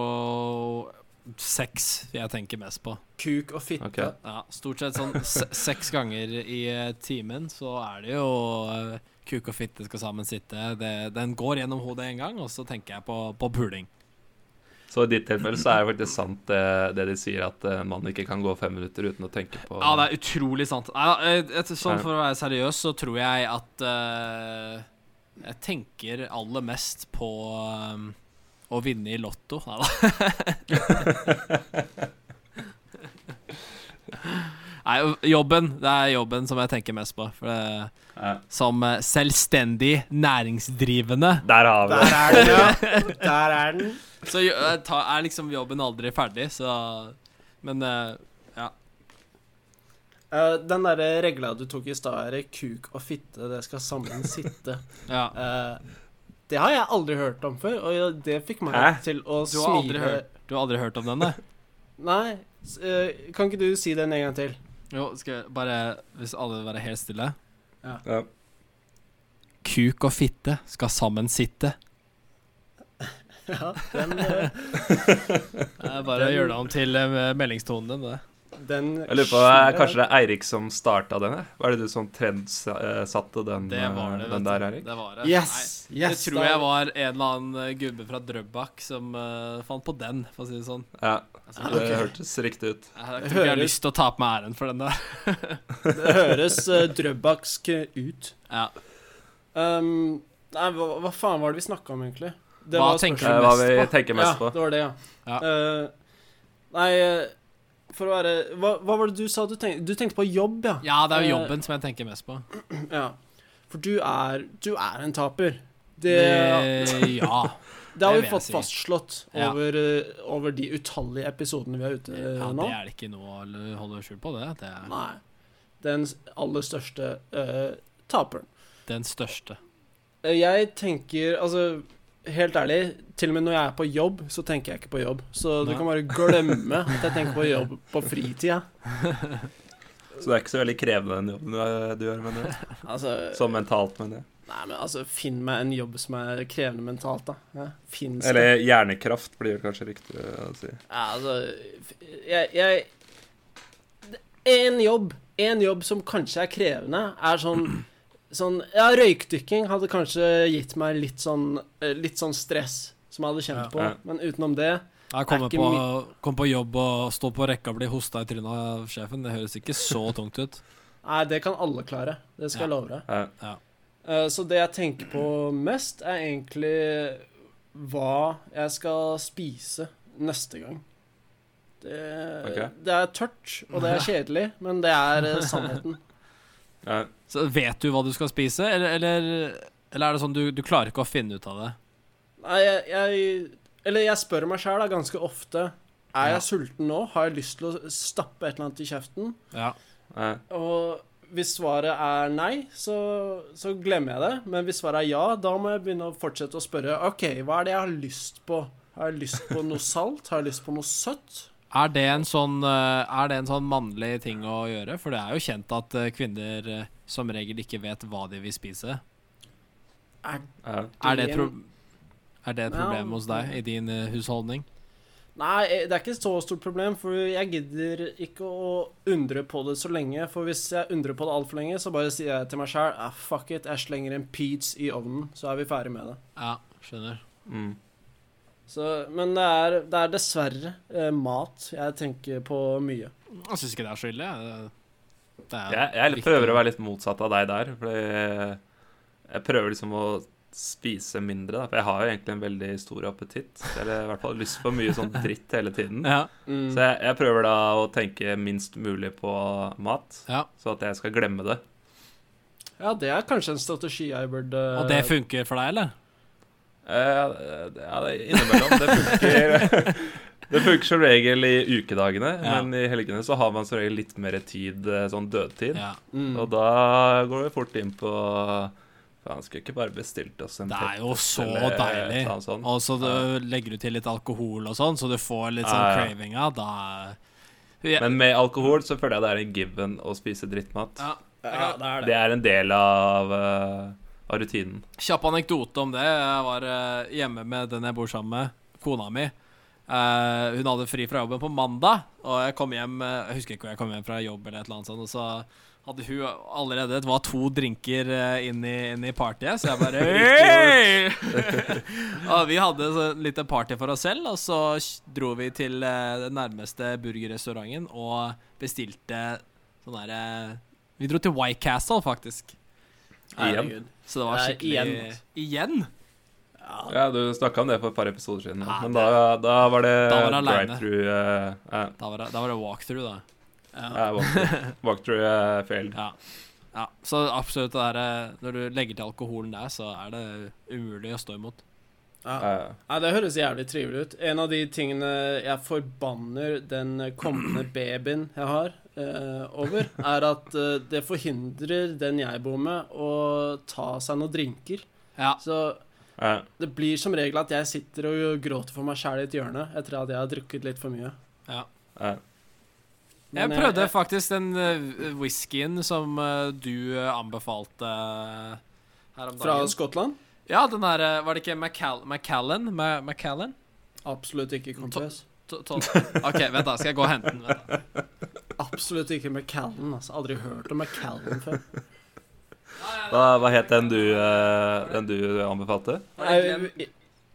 Speaker 4: sex jeg tenker mest på.
Speaker 2: Kuk og fitte.
Speaker 3: Ok.
Speaker 4: Ja, Stort sett sånn se seks ganger i eh, timen så er det jo eh, kuk og fitte skal sammen sitte. Det, den går gjennom hodet en gang, og så tenker jeg på, på puling.
Speaker 3: Så i ditt tilfelle så er det faktisk sant det, det de sier, at eh, en mann ikke kan gå fem minutter uten å tenke på
Speaker 4: Ja, det er utrolig sant. Nei, da, eh, et- sånn
Speaker 3: Ja.
Speaker 4: for å være seriøs, så tror jeg at eh, Jeg tenker aller mest på eh, å vinne i Lotto. Nei da. Nei, jobben. Det er jobben som jeg tenker mest på. For det,
Speaker 3: Ja.
Speaker 4: som eh, selvstendig næringsdrivende
Speaker 3: Der har vi det.
Speaker 2: Der er den, ja. Der er den.
Speaker 4: så jo- eh, ta, er liksom jobben aldri ferdig, så Men eh,
Speaker 2: Eh, den derre regla du tok i stad, er kuk og fitte, det skal sammen sitte.
Speaker 4: ja.
Speaker 2: Eh, det har jeg aldri hørt om før, og det fikk meg
Speaker 3: Hæ?
Speaker 2: til å
Speaker 4: Du
Speaker 2: smile.
Speaker 4: har aldri hørt, du har aldri hørt om den, nei?
Speaker 2: Nei, s- eh, kan ikke du si den en gang til?
Speaker 4: Jo, skal jeg bare Hvis alle vil være helt stille
Speaker 3: Ja.
Speaker 4: Kuk og fitte skal sammen sitte.
Speaker 2: Ja, den, eh,
Speaker 4: Det er bare å gjøre det om til eh, meldingstonen din, det.
Speaker 2: den
Speaker 3: Jeg lurer på, eh, Kanskje det er Eirik som starta den? eh? Var det du som trendsatte eh, den,
Speaker 4: Det var det.
Speaker 3: eh, den
Speaker 4: vet du.
Speaker 3: der, Eirik?
Speaker 4: Det var det.
Speaker 2: Yes!
Speaker 4: Nei,
Speaker 2: yes
Speaker 4: det tror jeg var en eller annen eh, gubbe fra Drøbak som eh, fant på den, for å si det sånn.
Speaker 3: Ja,
Speaker 4: Altså,
Speaker 3: det
Speaker 4: jeg,
Speaker 3: hørtes riktig ut.
Speaker 4: jeg, tror ikke jeg har
Speaker 2: Høres-
Speaker 4: lyst til å ta på meg æren for den der.
Speaker 2: Det høres eh, drøbaksk eh, ut.
Speaker 4: Ja.
Speaker 2: Um, nei, hva, hva faen var det vi snakka om, egentlig? Det
Speaker 4: Hva
Speaker 2: var
Speaker 4: tenker
Speaker 3: Eh,
Speaker 4: du
Speaker 3: Hva
Speaker 4: mest
Speaker 3: vi
Speaker 4: på?
Speaker 3: tenker mest
Speaker 2: ja,
Speaker 3: på.
Speaker 2: det var det, ja.
Speaker 4: Ja.
Speaker 2: Eh, nei, eh, for å være hva, hva var det du sa du tenkte Du tenkte på jobb, ja.
Speaker 4: Ja, det er jo
Speaker 2: Eh,
Speaker 4: jobben som jeg tenker mest på.
Speaker 2: Ja. For du er Du er en taper. Det,
Speaker 4: Eh, ja.
Speaker 2: det har vi
Speaker 4: det vil jeg
Speaker 2: fått
Speaker 4: si.
Speaker 2: fastslått
Speaker 4: Ja.
Speaker 2: over, eh, over de utallige episodene vi er ute eh,
Speaker 4: ja.
Speaker 2: nå.
Speaker 4: Det er det ikke noe å holde skjul på, det. Det er
Speaker 2: Nei. Den s- aller største eh, taperen.
Speaker 4: den største.
Speaker 2: Eh, Jeg tenker, altså Helt ærlig, til og med når jeg er på jobb, så tenker jeg ikke på jobb. Så du
Speaker 4: Nei.
Speaker 2: kan bare glemme at jeg tenker på jobb på fritida.
Speaker 3: Så det er ikke så veldig krevende den jobben du, eh, du gjør, mener du?
Speaker 2: Altså,
Speaker 3: Sånn mentalt, mener jeg.
Speaker 2: nei, men altså, finn meg en jobb som er krevende mentalt, da. Ja, finnes det?
Speaker 3: Eller hjernekraft blir vel kanskje riktig å si.
Speaker 2: Ja, altså f- Jeg, jeg En jobb En jobb som kanskje er krevende, er sånn Sånn Ja, røykdykking hadde kanskje gitt meg litt sånn eh, Litt sånn stress som jeg hadde
Speaker 4: Ja.
Speaker 2: kjent på,
Speaker 3: Ja.
Speaker 2: men utenom det
Speaker 4: Jeg kommer
Speaker 2: ikke
Speaker 4: på, kom på jobb og stå på rekka og bli hosta i trynet av sjefen. Det høres ikke så tungt ut.
Speaker 2: Nei, det kan alle klare. Det skal jeg
Speaker 4: Ja.
Speaker 2: love deg.
Speaker 3: Ja.
Speaker 4: Ja.
Speaker 2: Eh, Så det jeg tenker på mest, er egentlig hva jeg skal spise neste gang. Det,
Speaker 3: Ok.
Speaker 2: det er tørt, og det er kjedelig, men det er eh, sannheten.
Speaker 3: Ja.
Speaker 4: Så vet du hva du skal spise, eller, eller, eller er det sånn du, du klarer ikke å finne ut av det?
Speaker 2: Nei, jeg, jeg Eller jeg spør meg sjæl ganske ofte. Er
Speaker 4: Ja.
Speaker 2: jeg sulten nå? Har jeg lyst til å stappe et eller annet i kjeften?
Speaker 4: Ja.
Speaker 3: Ja.
Speaker 2: Og Hvis svaret er nei, så, så glemmer jeg det. Men hvis svaret er ja, da må jeg begynne å fortsette å spørre OK, hva er det jeg har lyst på? Har jeg lyst på noe salt? Har jeg lyst på noe søtt?
Speaker 4: Er det en sånn, eh, er det en sånn mannlig ting å gjøre? For det er jo kjent at eh, kvinner eh, som regel ikke vet hva de vil spise.
Speaker 3: Ja.
Speaker 4: Er det,
Speaker 2: Det-
Speaker 4: pro er det et
Speaker 2: Ja.
Speaker 4: problem hos deg i din eh, husholdning?
Speaker 2: Nei, eh, det er ikke så stort problem, for jeg gidder ikke å undre på det så lenge. For hvis jeg undrer på det altfor lenge, så bare sier jeg til meg sjæl ah, fuck it, jeg slenger en peach i ovnen, så er vi ferdig med det.
Speaker 4: Ja, skjønner.
Speaker 3: Mm.
Speaker 2: Så, men det er, det er dessverre eh, mat jeg tenker på mye.
Speaker 4: Jeg syns ikke det er så ille. jeg. Det, det
Speaker 3: Jeg, jeg
Speaker 4: viktig.
Speaker 3: prøver å være litt motsatt av deg der. Fordi jeg prøver liksom å spise mindre, da. For jeg har jo egentlig en veldig stor appetitt. Eller i hvert fall lyst på mye sånn dritt hele tiden.
Speaker 4: Ja.
Speaker 2: Mm.
Speaker 3: Så jeg, jeg prøver da å tenke minst mulig på mat,
Speaker 4: Ja.
Speaker 3: så at jeg skal glemme det.
Speaker 2: Ja, det er kanskje en strategi jeg burde
Speaker 4: Og det funker for deg, eller?
Speaker 3: Eh, det- ja, det- innimellom. Det funker. Det funker som regel i ukedagene,
Speaker 4: Ja.
Speaker 3: men i helgene så har man som regel litt mer tid, eh, sånn dødtid.
Speaker 4: Ja.
Speaker 2: Mm.
Speaker 3: Og da går vi fort inn på Faen, skulle ikke bare bestilt oss en
Speaker 4: Det er jo så
Speaker 3: eller et
Speaker 4: deilig.
Speaker 3: eller annet sånt.
Speaker 4: Og så du legger du til litt alkohol og sånn, så du får litt sånn
Speaker 3: Ja, ja.
Speaker 4: cravinga. Da
Speaker 3: pet- Men med alkohol så føler jeg det er en given å spise drittmat.
Speaker 4: ja.
Speaker 2: Ja, det er det.
Speaker 3: Det er en del av, eh, av rutinen.
Speaker 4: Kjapp anekdote om det. Jeg var eh, hjemme med den jeg bor sammen med, kona mi. Eh, hun hadde fri fra jobben på mandag, og jeg kom hjem eh, Jeg husker ikke hvor jeg kom hjem fra jobb, eller et eller annet sånt, og så hadde hun allerede Det var to drinker eh, inn, i, inn i partyet, så jeg bare «Hey!» Og vi hadde så et lite party for oss selv, og så dro vi til eh, den nærmeste burgerrestauranten og bestilte sånn derre Vi dro til White Castle, faktisk.
Speaker 3: Igjen.
Speaker 4: Så det var
Speaker 2: Nei,
Speaker 4: skikkelig
Speaker 2: igjen.
Speaker 4: Igjen?
Speaker 3: Ja, du snakka om det for et par episoder siden,
Speaker 4: Ja,
Speaker 3: men
Speaker 4: det-
Speaker 3: da, da var det,
Speaker 4: Da var det alene.
Speaker 3: drive-through eh, eh,
Speaker 4: Da var det, da var det walkthrough, da.
Speaker 3: eh, walkthrough- Walkthrough eh, failed.
Speaker 4: Ja. ja. Så absolutt det der eh, Når du legger til alkoholen der, så er det umulig å stå imot.
Speaker 2: Ja.
Speaker 3: Eh,
Speaker 2: Ja, det høres jævlig trivelig ut. En av de tingene jeg forbanner den kommende babyen jeg har, eh, over, er at eh, det forhindrer den jeg bor med, å ta seg noen drinker.
Speaker 4: Ja.
Speaker 2: Så
Speaker 3: eh,
Speaker 2: det blir som regel at jeg sitter og gråter for meg sjæl i et hjørne etter at jeg har drukket litt for mye.
Speaker 3: eh.
Speaker 4: Jeg
Speaker 2: Men, eh,
Speaker 4: prøvde
Speaker 2: jeg-
Speaker 4: faktisk den eh, whiskyen som eh, du eh, anbefalte eh, her om
Speaker 2: Fra
Speaker 4: dagen.
Speaker 2: Skottland?
Speaker 4: ja, den der eh, Var det ikke Macal Macallan? Ma Macallan?
Speaker 2: Absolutt ikke Compass.
Speaker 4: To- to- OK, vent, da. Skal jeg gå og hente den? Vent da.
Speaker 2: Absolutt ikke McCallan. Altså. Aldri hørt om McCallan før.
Speaker 3: Hva, hva het den du, eh, den du anbefalte?
Speaker 4: Var det Glenn,
Speaker 2: Nei,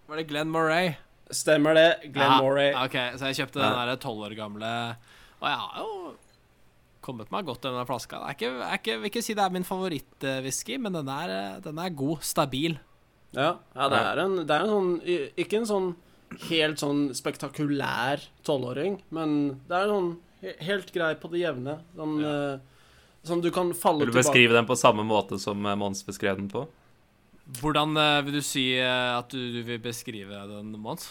Speaker 4: var det Glenn Moray?
Speaker 2: Stemmer det. Glenn
Speaker 4: Ja,
Speaker 2: Moray.
Speaker 4: Ok, så jeg kjøpte den
Speaker 3: Ja.
Speaker 4: der 12 år gamle Og jeg har jo kommet meg godt gjennom den flaska. Jeg ikke, jeg ikke, vil ikke si det er min favorittwhisky, men den er, eh, den er god, stabil.
Speaker 2: Ja, ja det, er en, det er en sånn i- Ikke en sånn helt sånn spektakulær tolvåring, men det er en sånn he- helt grei på det jevne. Sånn, eh, som du kan falle
Speaker 3: Vil du
Speaker 2: tilbake
Speaker 3: beskrive den på samme måte som eh, Mons beskrev den på?
Speaker 4: Hvordan eh, vil du si eh, at du, du vil beskrive den, Mons?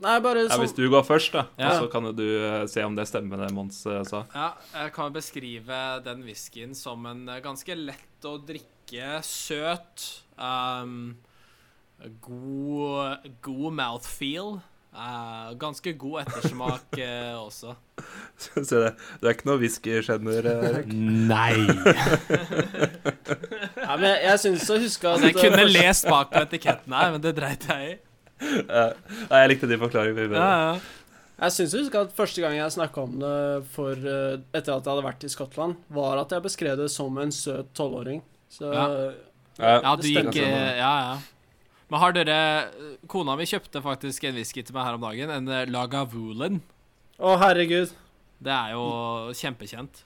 Speaker 2: Nei, bare
Speaker 3: Ja,
Speaker 2: sånn
Speaker 3: hvis du går først, da,
Speaker 4: Ja.
Speaker 3: så kan jo du eh, se om det stemmer det Mons eh, sa.
Speaker 4: Ja, jeg kan beskrive den whiskyen som en eh, ganske lett å drikke, søt ehm, God, god mouthfeel. eh, ganske god ettersmak eh, også.
Speaker 3: Så det, du er ikke noe whiskyskjenner, Erik?
Speaker 4: Nei!
Speaker 2: ja, men Jeg, jeg syns å huske at
Speaker 4: Altså, jeg kunne
Speaker 2: eh,
Speaker 4: lest bak på etiketten her, men det dreit jeg i.
Speaker 3: Nei, jeg likte din forklaring mye bedre.
Speaker 2: Jeg syns å huske at første gang jeg snakka om det for, eh, etter at jeg hadde vært i Skottland, var at jeg beskrev det som en søt tolvåring. Så
Speaker 4: Ja.
Speaker 3: Ja.
Speaker 4: Ja, du
Speaker 2: Det
Speaker 4: gikk
Speaker 3: stemmer.
Speaker 4: eh, Ja, ja. Men har dere Kona mi kjøpte faktisk en whisky til meg her om dagen. En eh, Lagavulin.
Speaker 2: Å, herregud.
Speaker 4: Det er jo kjempekjent.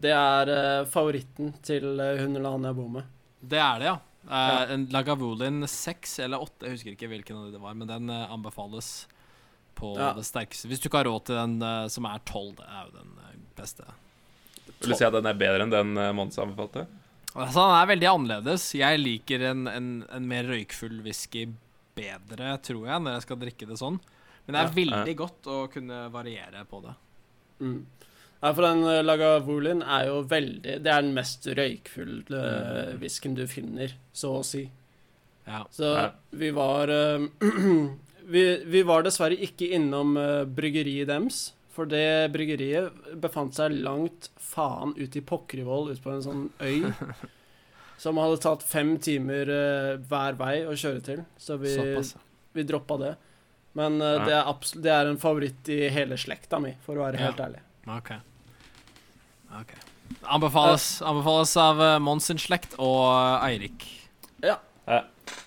Speaker 2: Det er eh, favoritten til eh, hun eller han jeg bor med.
Speaker 4: Det er det, ja. Eh, En Lagavulin 6 eller 8, jeg husker ikke hvilken av de det var, men den eh, anbefales på
Speaker 2: Ja.
Speaker 4: det sterkeste. Hvis du ikke har råd til den eh, som er 12, det er jo den eh, beste.
Speaker 3: Vil du si at den er bedre enn den eh, Mons anbefalte?
Speaker 4: Altså, han er veldig annerledes. Jeg liker en, en, en mer røykfull whisky bedre, tror jeg, når jeg skal drikke det sånn. Men det er
Speaker 3: Ja.
Speaker 4: veldig godt å kunne variere på det.
Speaker 2: Mm. Nei, for den eh, Lagavulin er jo veldig Det er den mest røykfulle eh, whiskyen du finner, så å si.
Speaker 4: Ja.
Speaker 2: Så
Speaker 3: Ja.
Speaker 2: vi var eh, vi, vi var dessverre ikke innom eh, bryggeriet deres, for det bryggeriet befant seg langt faen ute i Pokkervoll, ute på en sånn øy. Som hadde tatt fem timer eh, hver vei å kjøre til, så vi,
Speaker 4: Såpass.
Speaker 2: vi droppa det. Men eh,
Speaker 3: Ja.
Speaker 2: det, er absolutt- det er en favoritt i hele slekta mi, for å være helt
Speaker 4: Ja.
Speaker 2: ærlig.
Speaker 4: Ok. Ok. Anbefales, anbefales av eh, Mons sin slekt og eh, Eirik.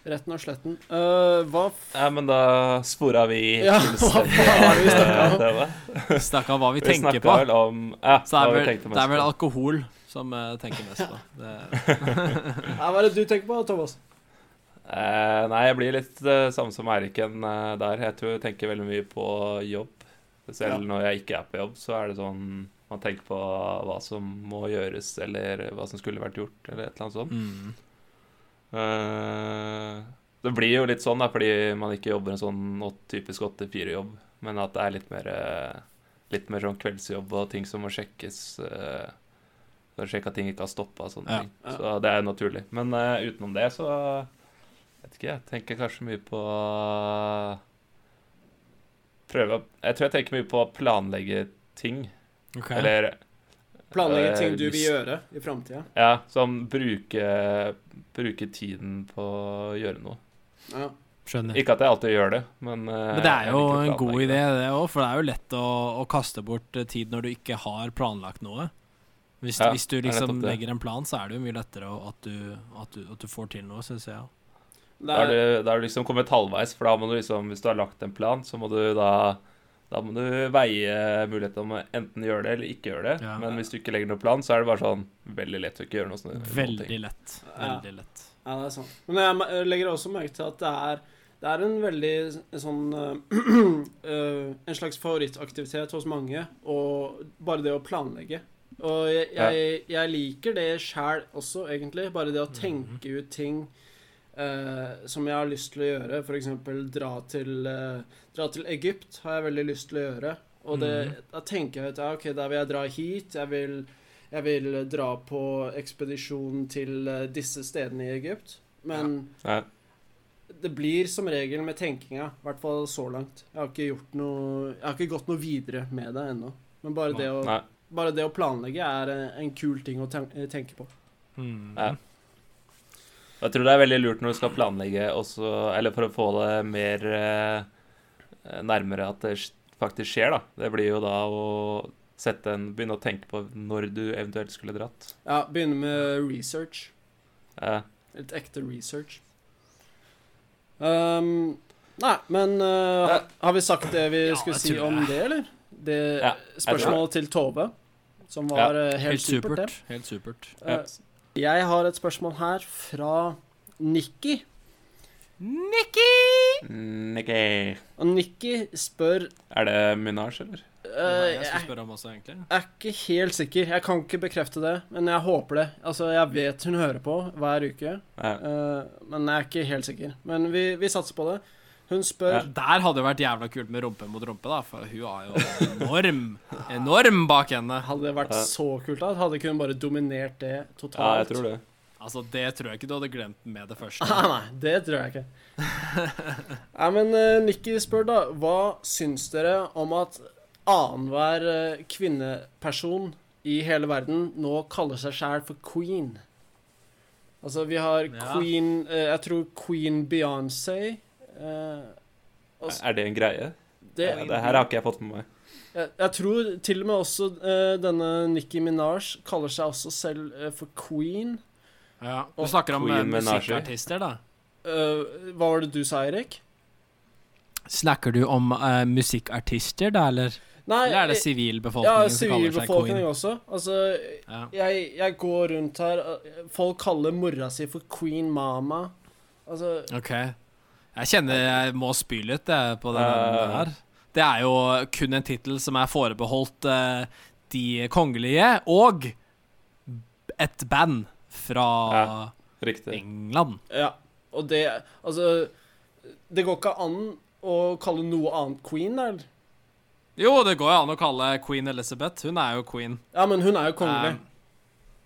Speaker 2: Retten og sletten. Eh, hva f...
Speaker 3: Ja, men da spora vi
Speaker 2: Ja, hva
Speaker 3: fullstendig
Speaker 2: faen er det vi snakker om?
Speaker 3: av, eh, tema.
Speaker 4: Stakkar hva vi
Speaker 3: Vi
Speaker 4: tenker
Speaker 3: snakka
Speaker 4: på.
Speaker 3: vel om Ja,
Speaker 4: Så det
Speaker 3: hva
Speaker 4: er
Speaker 3: vi
Speaker 4: vel,
Speaker 3: tenkte
Speaker 4: det er
Speaker 3: mest
Speaker 4: vel
Speaker 3: på.
Speaker 4: alkohol som eh, tenker mest på. Det,
Speaker 2: Nei, Hva er det du tenker på, Thomas?
Speaker 3: Eh, nei, jeg blir litt eh, samme som Eiriken eh, der. Jeg tror jeg tenker veldig mye på jobb. Selv
Speaker 2: Ja.
Speaker 3: når jeg ikke er på jobb, så er det sånn man tenker på hva som må gjøres, eller hva som skulle vært gjort, eller et eller annet sånt.
Speaker 4: mm.
Speaker 3: Eh, det blir jo litt sånn da, fordi man ikke jobber en sånn åt- typisk 8-4-jobb, men at det er litt mer, eh, litt mer sånn kveldsjobb og ting som må sjekkes. eh, for å sjekke at ting ikke har stoppa og sånne
Speaker 4: Ja.
Speaker 3: ting.
Speaker 2: Ja.
Speaker 3: Så det er jo naturlig. Men eh, utenom det, så vet ikke, jeg tenker kanskje mye på Prøve å Jeg tror jeg tenker mye på å planlegge ting.
Speaker 4: Ok.
Speaker 3: Eller
Speaker 2: Planlegge
Speaker 3: Eh,
Speaker 2: ting du vil
Speaker 3: hvis-
Speaker 2: gjøre i framtida.
Speaker 3: ja, sånn bruke, bruke tiden på å gjøre noe.
Speaker 2: Ja.
Speaker 4: Skjønner.
Speaker 3: Ikke at jeg alltid gjør det, men eh,
Speaker 4: Men det er jo en god idé, det òg, for det er jo lett å, å kaste bort eh, tid når du ikke har planlagt noe. Hvis,
Speaker 3: Ja,
Speaker 4: hvis du
Speaker 3: det er
Speaker 4: liksom
Speaker 3: nettopp det.
Speaker 4: legger en plan, så er det jo mye lettere å- at du, at du, at du får til noe, syns jeg.
Speaker 2: Det
Speaker 3: Da er
Speaker 2: er,
Speaker 3: du, da er du liksom kommet halvveis, for da må du liksom, hvis du har lagt en plan, så må du da da må du veie muligheten om å enten gjøre det eller ikke gjøre det.
Speaker 4: Ja.
Speaker 3: Men hvis du ikke legger noen plan, så er det bare sånn veldig lett å ikke gjøre noe sånn- sånt.
Speaker 4: Veldig lett.
Speaker 2: Ja.
Speaker 4: Veldig lett.
Speaker 2: ja, det er sant. Men jeg me- legger også merke til at det er, det er en veldig sånn eh, eh, En slags favorittaktivitet hos mange, og bare det å planlegge. Og jeg, jeg, jeg liker det sjæl også, egentlig. Bare det å tenke ut ting eh, som jeg har lyst til å gjøre. F.eks. dra til eh, Dra til Egypt har jeg veldig lyst til å gjøre. Og det,
Speaker 3: Mm.
Speaker 2: da tenker jeg at ja, ok, da vil jeg dra hit. Jeg vil, jeg vil dra på ekspedisjon til eh, disse stedene i Egypt. Men
Speaker 3: Ja.
Speaker 2: det blir som regel med tenkinga, i hvert fall så langt. Jeg har ikke gjort noe Jeg har ikke gått noe videre med det ennå. Men bare det, å,
Speaker 3: Nei.
Speaker 2: bare det å planlegge er eh, en kul ting å ten tenke på.
Speaker 4: Mm.
Speaker 3: Ja. Jeg tror det er veldig lurt når du skal planlegge også, eller for å få det mer eh, nærmere at det faktisk skjer, da. Det blir jo da å sette en, begynne å tenke på når du eventuelt skulle dratt.
Speaker 2: Ja, begynne med research.
Speaker 3: Eh,
Speaker 2: Litt ekte research. Ehm, nei, men eh, ha- har vi sagt det vi
Speaker 4: Ja,
Speaker 2: skulle
Speaker 4: jeg
Speaker 2: si
Speaker 4: tror
Speaker 2: om
Speaker 4: det.
Speaker 2: det, eller? Det
Speaker 3: Ja, tror det.
Speaker 2: spørsmålet til Tove, som var eh, helt,
Speaker 4: Helt
Speaker 2: supert, det.
Speaker 4: supert. Helt supert.
Speaker 3: ja.
Speaker 2: Eh, jeg har et spørsmål her fra Nikki.
Speaker 3: Mm, ok.
Speaker 2: Og Nikki spør
Speaker 3: Er det Minaj, eller?
Speaker 4: Nei,
Speaker 2: eh,
Speaker 4: jeg
Speaker 2: Jeg
Speaker 4: skulle spørre om også, egentlig.
Speaker 2: er ikke helt sikker. Jeg kan ikke bekrefte det, men jeg håper det. Altså, jeg vet hun hører på hver uke,
Speaker 3: Ja.
Speaker 2: eh, men jeg er ikke helt sikker. Men vi, vi satser på det. Hun spør
Speaker 3: Ja.
Speaker 4: Der hadde det vært jævla kult med rumpe mot rumpe, da, for hun har jo enorm, enorm bak henne.
Speaker 2: Hadde det vært
Speaker 3: Ja.
Speaker 2: så kult da, hadde ikke hun bare dominert det totalt.
Speaker 3: ja, jeg tror det.
Speaker 4: Altså, det tror jeg ikke du hadde glemt med det første.
Speaker 2: Nei, Ah, nei, det tror jeg ikke. Nei, men eh, Nikki spør da, hva syns dere om at annenhver eh, kvinneperson i hele verden nå kaller seg selv for queen? Altså, vi har
Speaker 4: Ja.
Speaker 2: queen, eh, jeg tror queen Beyoncé, eh, Altså-
Speaker 3: Er det en greie?
Speaker 2: det,
Speaker 3: ja, det her har ikke jeg fått med meg.
Speaker 2: Jeg, jeg tror til og med også eh, denne Nicki Minaj kaller seg også selv eh, for queen.
Speaker 4: Ja. Du
Speaker 2: Og
Speaker 4: snakker om eh,
Speaker 3: Queen Menage.
Speaker 4: musikkartister, da.
Speaker 2: Eh, hva var det du sa, Erik?
Speaker 4: Snakker du om eh, musikkartister, da, eller?
Speaker 2: Nei,
Speaker 4: Eller er det
Speaker 2: jeg-
Speaker 4: sivilbefolkningen
Speaker 2: ja,
Speaker 4: som kaller seg
Speaker 2: sivilbefolkningen
Speaker 4: queen?
Speaker 2: også. Altså,
Speaker 4: Ja.
Speaker 2: jeg, jeg går rundt her eh, Folk kaller mora si for queen mama. Altså
Speaker 4: OK. Jeg kjenner jeg må spy litt jeg, på den
Speaker 3: Ja.
Speaker 2: Eh.
Speaker 4: her. Det er jo kun en tittel som er forbeholdt eh, de kongelige, og et band fra
Speaker 3: Ja. Riktig.
Speaker 4: England.
Speaker 2: Ja. Og det Altså, det går ikke an å kalle noe annet queen, der.
Speaker 4: Jo, det går jo an å kalle queen Elizabeth. Hun er jo queen.
Speaker 2: Ja, men hun er jo kongelig.
Speaker 4: Eh,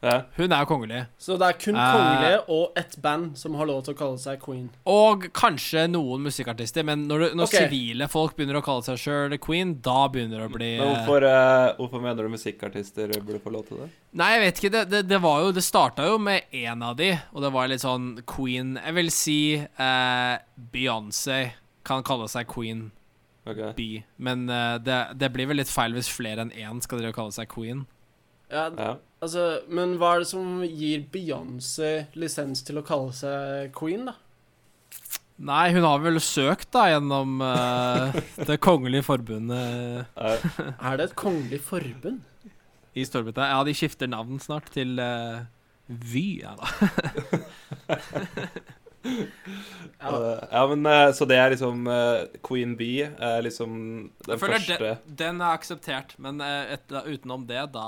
Speaker 3: Ja.
Speaker 4: Hun er jo kongelig.
Speaker 2: Så det er kun
Speaker 4: Eh.
Speaker 2: kongelige og ett band som har lov til å kalle seg queen.
Speaker 4: Og kanskje noen musikkartister, men når, du, når
Speaker 2: Ok.
Speaker 4: sivile folk begynner å kalle seg sjøl queen, da begynner det å bli
Speaker 3: Men hvorfor, eh, hvorfor mener du musikkartister burde få lov til det?
Speaker 4: Nei, jeg vet ikke. Det, det, det var jo Det starta jo med én av de, og det var litt sånn queen Jeg vil si eh, Beyoncé kan kalle seg queen
Speaker 3: Ok.
Speaker 4: bee, men eh, det, det blir vel litt feil hvis flere enn én skal drive og kalle seg queen.
Speaker 2: Ja,
Speaker 3: Ja.
Speaker 2: altså, Men hva er det som gir Beyoncé lisens til å kalle seg queen, da?
Speaker 4: Nei, hun har vel søkt, da, gjennom eh, det kongelige forbundet
Speaker 3: Er,
Speaker 2: Er det et kongelig forbund?
Speaker 4: i Storbritannia. Ja, de skifter navn snart til eh, Vy, ja da.
Speaker 2: Ja.
Speaker 3: Eh, ja, men eh, Så det er liksom eh, Queen Bee er liksom den
Speaker 4: Jeg føler
Speaker 3: første
Speaker 4: den, den er akseptert, men eh, et, utenom det, da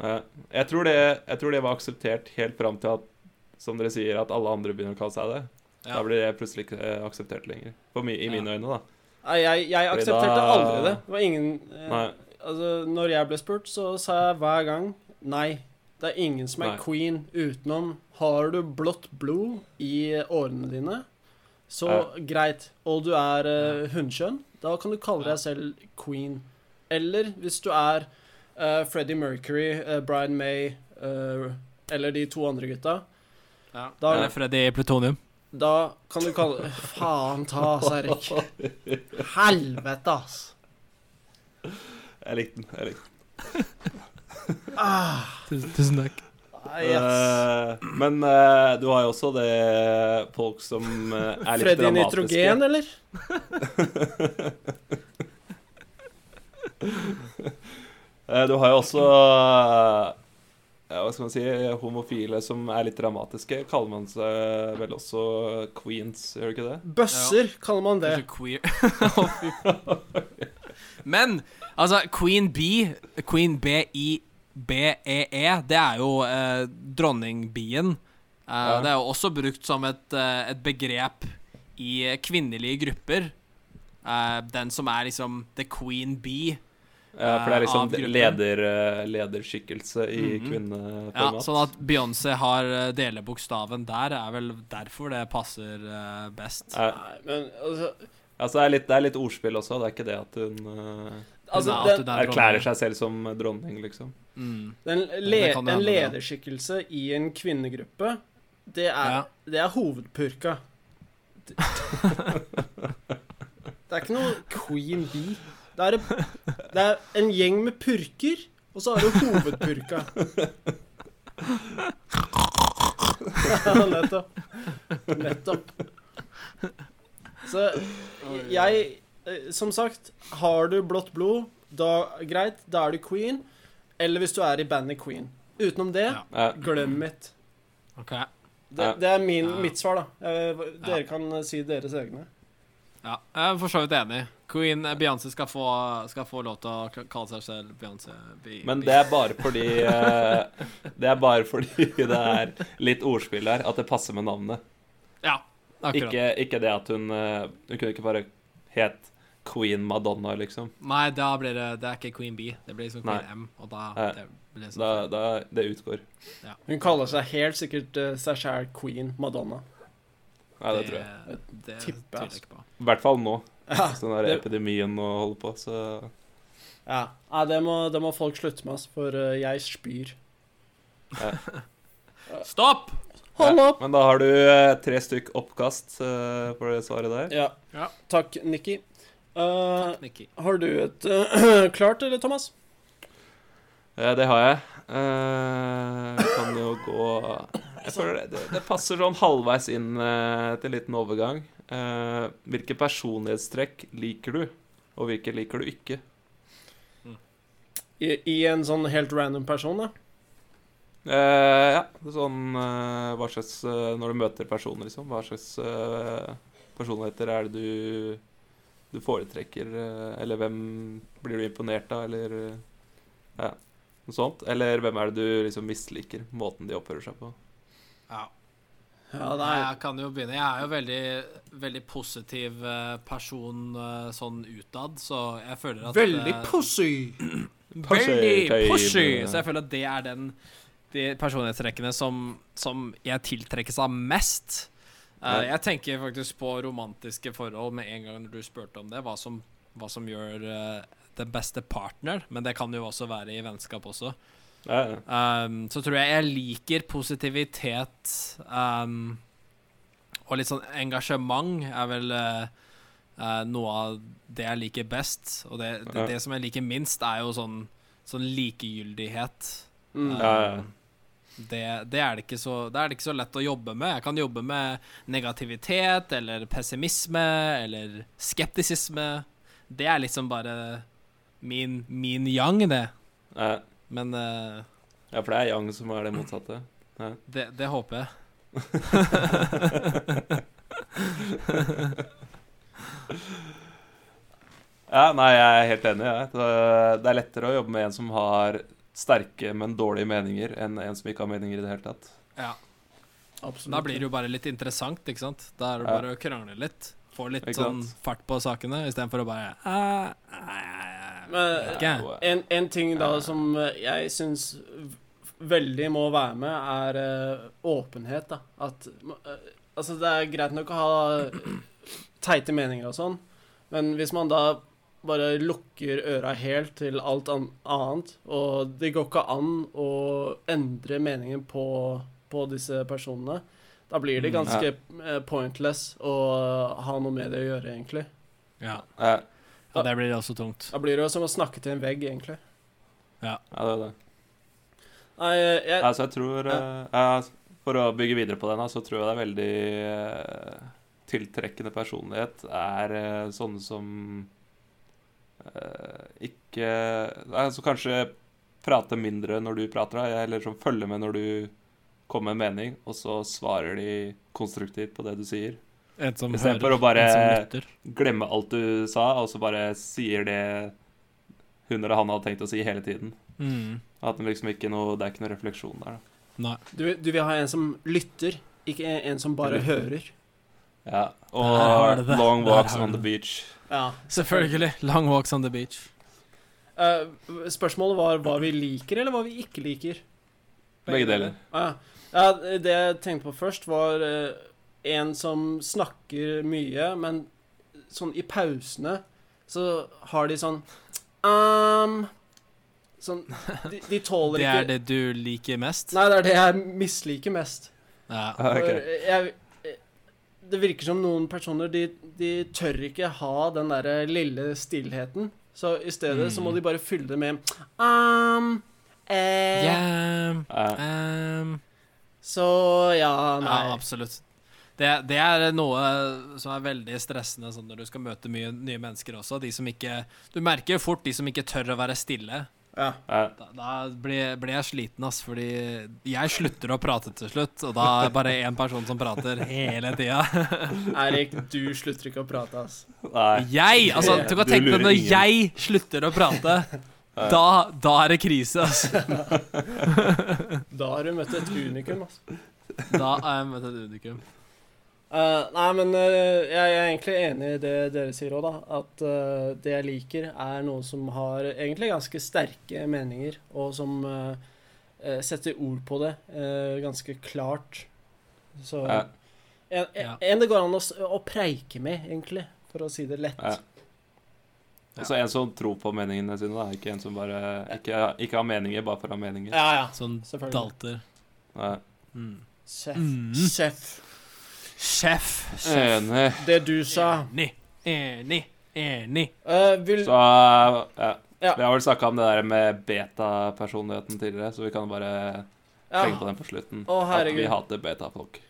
Speaker 3: Ja. jeg, tror det, jeg tror det var akseptert helt fram til at som dere sier, at alle andre begynner å kalle seg det.
Speaker 4: Ja.
Speaker 3: Da blir det plutselig ikke eh, akseptert lenger. For mi, I
Speaker 4: Ja.
Speaker 3: mine øyne, da.
Speaker 2: Nei, jeg, jeg
Speaker 3: Fordi
Speaker 2: aksepterte
Speaker 3: da-
Speaker 2: aldri det. Det var ingen eh,
Speaker 3: Nei.
Speaker 2: Altså, når jeg ble spurt, så sa jeg hver gang nei. Det er ingen som er
Speaker 3: Nei.
Speaker 2: queen utenom Har du blått blod i årene dine, så greit. Og du er uh, hundskjønn, da kan du kalle
Speaker 4: Ja.
Speaker 2: deg selv queen. Eller hvis du er eh, Freddie Mercury, eh, Brian May eh, eller de to andre gutta, Da-
Speaker 4: Eller Freddy Plutonium.
Speaker 2: da kan du kalle Faen ta, ass, Erik. Helvete, ass.
Speaker 3: Jeg likte den. jeg likte den.
Speaker 4: Tusen takk.
Speaker 2: Ah. Nei, ass.
Speaker 3: Eh, men eh, du har jo også det folk som eh, er litt
Speaker 2: Freddy
Speaker 3: dramatiske.
Speaker 2: Nitrogen, eller?
Speaker 3: Eh, Du har jo også eh, ja, hva skal man si, homofile som er litt dramatiske. Kaller man seg vel også queens, gjør du ikke det?
Speaker 2: Bøsser kaller man det.
Speaker 4: Queer. Å, fy faen. men altså, Queen B, Queen B-I-B-E-E, E, det er jo eh, dronningbien. Eh,
Speaker 3: Ja.
Speaker 4: Det er jo også brukt som et, eh, et begrep i eh, kvinnelige grupper. Eh, den som er liksom the queen bee.
Speaker 3: Ja, for det er
Speaker 4: Av
Speaker 3: liksom
Speaker 4: gruppen.
Speaker 3: leder, eh, lederskikkelse i
Speaker 4: Mhm. Ja,
Speaker 3: kvinneformat.
Speaker 4: sånn at Beyoncé har eh, delebokstaven der, er vel derfor det passer eh, best.
Speaker 3: Eh,
Speaker 2: Nei, men altså,
Speaker 3: altså, det er, litt, det er litt ordspill også. Det er ikke det at hun eh,
Speaker 2: altså
Speaker 4: Hun er alltid
Speaker 2: den,
Speaker 4: der,
Speaker 3: erklærer
Speaker 4: dronningen.
Speaker 3: seg selv som dronning, liksom.
Speaker 4: Mm.
Speaker 2: den le,
Speaker 4: Det kan det
Speaker 2: En
Speaker 4: hende, det,
Speaker 2: lederskikkelse i en kvinnegruppe, det er,
Speaker 4: Ja.
Speaker 2: det er hovedpurka. Det, det er ikke noe queen bee. Det er, det er en gjeng med purker, og så har du hovedpurka. Ja, nettopp. Nettopp. Så jeg eh, Som sagt, har du blått blod, da greit, da er du queen. Eller hvis du er i bandet Queen. Utenom det,
Speaker 4: Ja.
Speaker 3: Eh,
Speaker 2: glem it.
Speaker 4: Ok.
Speaker 2: Det,
Speaker 3: Ja.
Speaker 2: det er min,
Speaker 4: Ja.
Speaker 2: mitt svar, da. Eh, hva- Dere
Speaker 4: Ja.
Speaker 2: kan si deres egne.
Speaker 4: Ja, jeg er for så vidt enig. Queen eh, Beyoncé skal få, skal få lov til å k- kalle seg selv Beyoncé. Be-
Speaker 3: men
Speaker 4: Be-
Speaker 3: det er bare fordi eh, Det er bare fordi det er litt ordspill der, at det passer med navnet.
Speaker 4: Ja, akkurat.
Speaker 3: Ikke, ikke det at hun eh, Hun kunne ikke bare het Queen Madonna, liksom.
Speaker 4: Nei, da blir det Det er ikke Queen B, det blir liksom Queen
Speaker 3: Nei.
Speaker 4: M, og da
Speaker 3: Ja.
Speaker 4: det blir liksom
Speaker 3: Da, da, det utgår.
Speaker 2: Hun kaller seg helt sikkert eh, seg sjæl queen Madonna.
Speaker 3: Ja, det tror jeg.
Speaker 4: Det, det
Speaker 2: Tipper jeg,
Speaker 4: tviler jeg
Speaker 2: altså.
Speaker 4: ikke på.
Speaker 3: I hvert fall nå,
Speaker 2: Ja,
Speaker 3: hvis den der
Speaker 2: det-
Speaker 3: epidemien nå holder på, så
Speaker 2: ja. Nei, det, må, det må folk slutte med, ass, for eh, jeg spyr.
Speaker 4: Stopp!
Speaker 2: Hold
Speaker 3: Ja,
Speaker 2: opp!
Speaker 3: Men da har du eh, tre stykk oppkast eh, for det svaret der.
Speaker 2: Ja.
Speaker 4: Ja.
Speaker 2: Takk, Nikki. Eh,
Speaker 4: Nikki.
Speaker 2: har du et eh, klart, eller, Thomas?
Speaker 3: Eh, det har jeg. Eh, vi kan jo gå Jeg føler det, det, det passer sånn halvveis inn eh, til en liten overgang. Eh, hvilke personlighetstrekk liker du, og hvilke liker du ikke?
Speaker 2: I, I en sånn helt random person, da?
Speaker 3: Eh, ja, sånn eh, hva slags eh, Når du møter personer, liksom, hva slags eh, personligheter er det du, du foretrekker? eh, eller hvem blir du imponert av, eller eh, ja, noe sånt? Eller hvem er det du liksom misliker måten de oppfører seg på?
Speaker 4: Ja.
Speaker 2: Ja, det er
Speaker 4: Jeg kan jo begynne. Jeg er jo veldig, veldig positiv eh, person eh, sånn utad, så jeg føler at
Speaker 2: veldig
Speaker 4: eh,
Speaker 2: pussy.
Speaker 3: Pushy,
Speaker 4: Veldig pushy!
Speaker 3: tøy.
Speaker 4: Så jeg føler at det er den de personlighetstrekkene som, som jeg tiltrekkes av mest. Eh, jeg tenker faktisk på romantiske forhold med en gang når du spurte om det. Hva som, hva som gjør eh, den beste partner, men det kan jo også være i vennskap også.
Speaker 3: Ja, ja.
Speaker 4: Um, så tror jeg jeg liker positivitet um, og litt sånn engasjement er vel eh, eh, noe av det jeg liker best. Og det, det,
Speaker 3: Ja.
Speaker 4: det som jeg liker minst, er jo sånn, sånn likegyldighet.
Speaker 2: Mm.
Speaker 4: Eh,
Speaker 3: ja, ja.
Speaker 4: Det, det, er det, ikke så, det er det ikke så lett å jobbe med. Jeg kan jobbe med negativitet eller pessimisme eller skeptisisme. Det er liksom bare min, min yang, det.
Speaker 3: Ja,
Speaker 4: Men eh,
Speaker 3: Ja, for det er Yang som er det motsatte.
Speaker 4: Det, det håper jeg.
Speaker 3: Ja, nei, jeg er helt enig. jeg. Det- Det er lettere å jobbe med en som har sterke, men dårlige meninger, enn en som ikke har meninger i det hele tatt.
Speaker 4: Ja,
Speaker 2: Absolutt.
Speaker 4: Da blir det jo bare litt interessant, ikke sant? Da er det
Speaker 3: Ja.
Speaker 4: bare å krangle litt. Få litt
Speaker 3: Ikke
Speaker 4: sånn
Speaker 3: sant?
Speaker 4: fart på sakene istedenfor å bare «Ah, ah, ah,
Speaker 2: Men-
Speaker 4: ikke.
Speaker 3: Jo, ja.
Speaker 2: En, en ting da som eh, jeg syns veldig må være med, er eh, åpenhet, da. At eh, Altså, det er greit nok å ha eh, teite meninger og sånn, men hvis man da bare lukker øra helt til alt an annet, og det går ikke an å endre meningen på, på disse personene, da blir det
Speaker 4: Mm,
Speaker 2: ganske eh, pointless å ha noe med det å gjøre, egentlig.
Speaker 4: Ja.
Speaker 3: Ja,
Speaker 4: ja, det blir også tungt.
Speaker 2: Da blir det jo som å snakke til en vegg, egentlig.
Speaker 3: ja det er det.
Speaker 2: Nei, jeg,
Speaker 3: Ja, så jeg tror eh, ja, For å bygge videre på den, da, så tror jeg det er veldig eh, tiltrekkende personlighet er eh, sånne som eh, ikke Nei, Som kanskje prater mindre når du prater, da, eller som følger med når du kommer med en mening, og så svarer de konstruktivt på det du sier.
Speaker 4: En som
Speaker 3: I stedet for
Speaker 4: hører,
Speaker 3: å bare-
Speaker 4: en som lytter.
Speaker 3: glemme alt du sa, og så bare sier det hun eller han hadde tenkt å si hele tiden.
Speaker 4: Mm.
Speaker 3: At det liksom ikke noe, det er ikke noe refleksjon der. da.
Speaker 4: Nei.
Speaker 2: Du, du vil ha en som lytter, ikke en, en som bare
Speaker 3: Lytter.
Speaker 2: hører.
Speaker 3: Ja.
Speaker 4: Der har
Speaker 3: Og
Speaker 4: du det.
Speaker 3: long
Speaker 4: Der
Speaker 3: walks
Speaker 4: har
Speaker 3: on
Speaker 4: du
Speaker 3: the beach.
Speaker 2: Ja.
Speaker 4: Selvfølgelig. Long walks on the beach.
Speaker 2: Eh, spørsmålet var hva vi liker, eller hva vi ikke liker.
Speaker 3: Begge deler.
Speaker 2: Ah, ja, Ja, det jeg tenkte på først, var eh, en som snakker mye, men sånn i pausene så har de sånn «Ehm», Sånn De, de tåler
Speaker 4: Det
Speaker 2: ikke
Speaker 4: er det du liker mest?
Speaker 2: Nei, det er det jeg misliker mest.
Speaker 4: Ja.
Speaker 3: Ah, ok.
Speaker 2: For eh, jeg, det virker som noen personer de, de tør ikke ha den derre lille stillheten. Så i stedet så må
Speaker 4: Mm.
Speaker 2: de bare fylle det med um, eh,
Speaker 4: Yeah.
Speaker 3: Ja.
Speaker 4: Um,
Speaker 2: Så ja, nei.
Speaker 4: Ja, absolutt. Det, det er noe som er veldig stressende sånn når du skal møte mye nye mennesker også. De som ikke, du merker jo fort de som ikke tør å være stille.
Speaker 2: Ja.
Speaker 3: Ja.
Speaker 4: Da, da blir, blir jeg sliten, ass, fordi jeg slutter å prate til slutt, og da er det bare én person som prater hele tida.
Speaker 2: Eirik, du slutter ikke å prate, ass.
Speaker 3: Nei.
Speaker 4: Jeg! Altså, du kan
Speaker 3: Du
Speaker 4: tenke deg
Speaker 3: lurer
Speaker 4: når
Speaker 3: ingen.
Speaker 4: jeg slutter å prate. Da, da er det krise, ass.
Speaker 2: Da har du møtt et unikum, ass.
Speaker 4: Da er jeg møtt et unikum.
Speaker 2: Eh, nei, men eh, jeg er egentlig enig i det dere sier òg, da. At eh, det jeg liker, er noen som har egentlig ganske sterke meninger, og som eh, eh, setter ord på det eh, ganske klart. Så
Speaker 3: Ja.
Speaker 2: en, en,
Speaker 4: Ja.
Speaker 2: en det går an å, s- å preike med, egentlig, for å si det lett.
Speaker 3: Ja. ah. Og så en som tror på meningene sine, da. Ikke en som bare ikke, ikke har meninger bare for å ha meninger.
Speaker 2: Ja, ja.
Speaker 4: Sånn
Speaker 2: Selvfølgelig.
Speaker 4: dalter.
Speaker 3: Nei.
Speaker 4: Mm.
Speaker 2: Sjef.
Speaker 4: Mm.
Speaker 2: Sjef.
Speaker 4: Sjef.
Speaker 3: Enig.
Speaker 2: Det du sa
Speaker 4: Enig. Enig. Enig.
Speaker 2: Eh, vil,
Speaker 3: Så ja.
Speaker 2: Ja.
Speaker 3: Vi har vel snakka om det der med beta-personligheten tidligere, så vi kan bare
Speaker 2: ja.
Speaker 3: tenke på den på slutten.
Speaker 2: Å,
Speaker 3: At vi
Speaker 2: herregud.
Speaker 3: hater beta-folk.
Speaker 2: Å,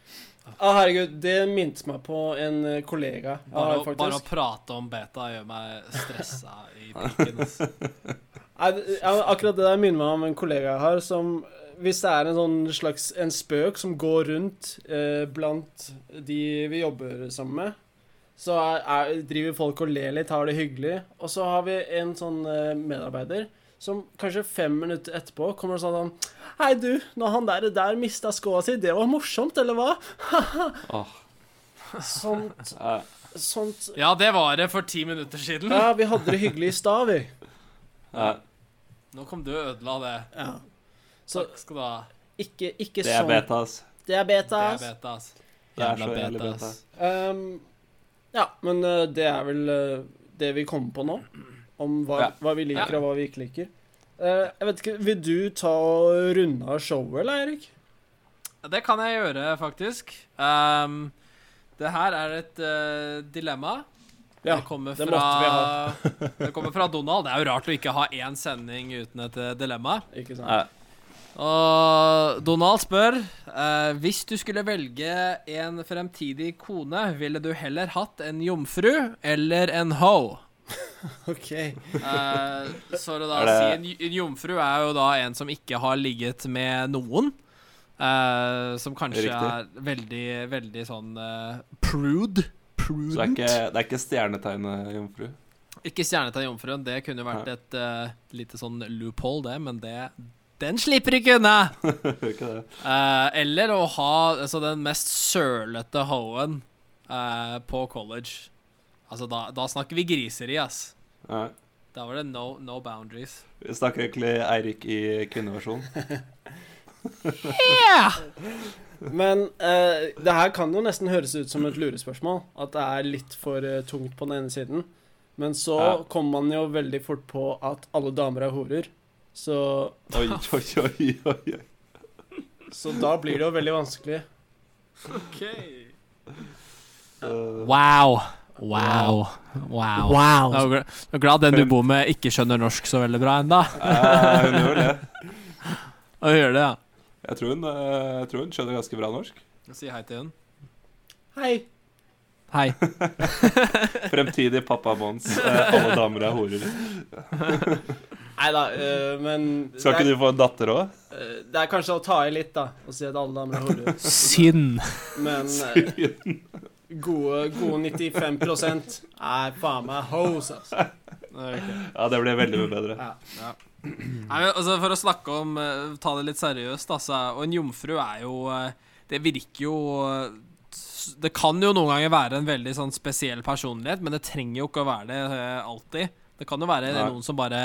Speaker 2: Ah, herregud, det minte meg på en eh, kollega. jeg
Speaker 4: Bare,
Speaker 2: har,
Speaker 4: å, bare å prate om beta gjør meg stressa i piken. ass.
Speaker 2: Nei, det- ja, akkurat det der minner meg om en kollega jeg har, som hvis det er en sånn slags en spøk som går rundt eh, blant de vi jobber sammen med, så er, er, driver folk og ler litt, har det hyggelig. Og så har vi en sånn eh, medarbeider som kanskje fem minutter etterpå kommer og sånn Hei, du, når han der, der mista skoa si, det var morsomt, eller hva?
Speaker 3: Åh,
Speaker 2: Sånt,
Speaker 3: eh,
Speaker 2: sånt
Speaker 4: Ja, det var det for ti minutter siden.
Speaker 2: Ja, vi hadde det hyggelig i stad, vi.
Speaker 3: eh,
Speaker 4: Nå kom du og ødela det.
Speaker 2: Ja. Så
Speaker 4: Takk skal du ha.
Speaker 2: ikke, ikke
Speaker 3: det er
Speaker 2: sånn.
Speaker 3: beta, ass.
Speaker 2: Det er beta. ass.
Speaker 4: Diabetes. ass.
Speaker 3: Det er
Speaker 4: Jævla
Speaker 3: så jævlig
Speaker 4: beta,
Speaker 3: beta.
Speaker 4: ass.
Speaker 2: Ehm, ja, men eh, det er vel eh, det vi kommer på nå. Om hva,
Speaker 3: Ja.
Speaker 2: hva vi liker,
Speaker 4: Ja.
Speaker 2: og hva vi ikke liker. Eh, jeg vet ikke, Vil du ta og runde av showet, eller, Eirik?
Speaker 4: Det kan jeg gjøre, faktisk. Ehm, det her er et eh, dilemma.
Speaker 2: Ja,
Speaker 4: det kommer
Speaker 2: det
Speaker 4: fra, det kommer fra Donald. Det er jo rart å ikke ha én sending uten et eh, dilemma.
Speaker 2: Ikke sant?
Speaker 3: Eh,
Speaker 4: Og Donald spør eh, Hvis du skulle velge en fremtidig kone, ville du heller hatt en jomfru eller en ho?
Speaker 2: OK.
Speaker 4: Eh, så det da
Speaker 3: Er det-
Speaker 4: si en, j- en jomfru er jo da en som ikke har ligget med noen. eh, som
Speaker 3: Riktig.
Speaker 4: kanskje er veldig, veldig sånn eh, prude. Prudent.
Speaker 3: Så det er ikke, det er ikke stjernetegnet, jomfru.
Speaker 4: Ikke stjernetegn jomfruen. Det kunne jo vært
Speaker 3: Nei.
Speaker 4: et eh, lite sånn loophole, det, men det den slipper ikke unna!
Speaker 3: Gjør ikke det.
Speaker 4: Eh, eller å ha altså, den mest sølete hoen eh, på college. Altså, da, da snakker vi griseri, ass.
Speaker 3: Eh,
Speaker 4: Da var det no, no boundaries.
Speaker 3: Vi snakker egentlig Eirik i kvinneversjon.
Speaker 2: Men eh, det her kan jo nesten høres ut som et lurespørsmål. At det er litt for eh, tungt på den ene siden. Men så
Speaker 3: Ja.
Speaker 2: kommer man jo veldig fort på at alle damer er horer. Så,
Speaker 3: Oi, oi, oi, oi, oi.
Speaker 2: så da blir det jo veldig vanskelig.
Speaker 3: Eh,
Speaker 4: Wow. Wow. Wow. Jeg er jo glad- jeg er glad den du bor med, ikke skjønner norsk så veldig bra ennå.
Speaker 3: eh, hun gjør det.
Speaker 4: Og gjør det, ja.
Speaker 3: Jeg tror, hun, eh, jeg tror hun skjønner ganske bra norsk.
Speaker 4: Si hei til hun.
Speaker 2: Hei.
Speaker 4: Hei.
Speaker 3: Fremtidig pappa Mons. Eh, Alle damer er horer.
Speaker 2: Nei da, men
Speaker 3: Skal ikke du få en datter òg?
Speaker 2: Eh, Det er kanskje å ta i litt, da, å si at alle damer er horer.
Speaker 4: Sinn.
Speaker 2: Men eh, gode, gode 95 er faen meg hoes, altså.
Speaker 3: Ja, det blir veldig mye bedre.
Speaker 4: Nei, men altså For å snakke om eh, Ta det litt seriøst, altså. Og en jomfru er jo eh, Det virker jo eh, s- Det kan jo noen ganger være en veldig sånn spesiell personlighet, men det trenger jo ikke å være det eh, alltid. Det kan jo være
Speaker 3: Nei.
Speaker 4: noen som bare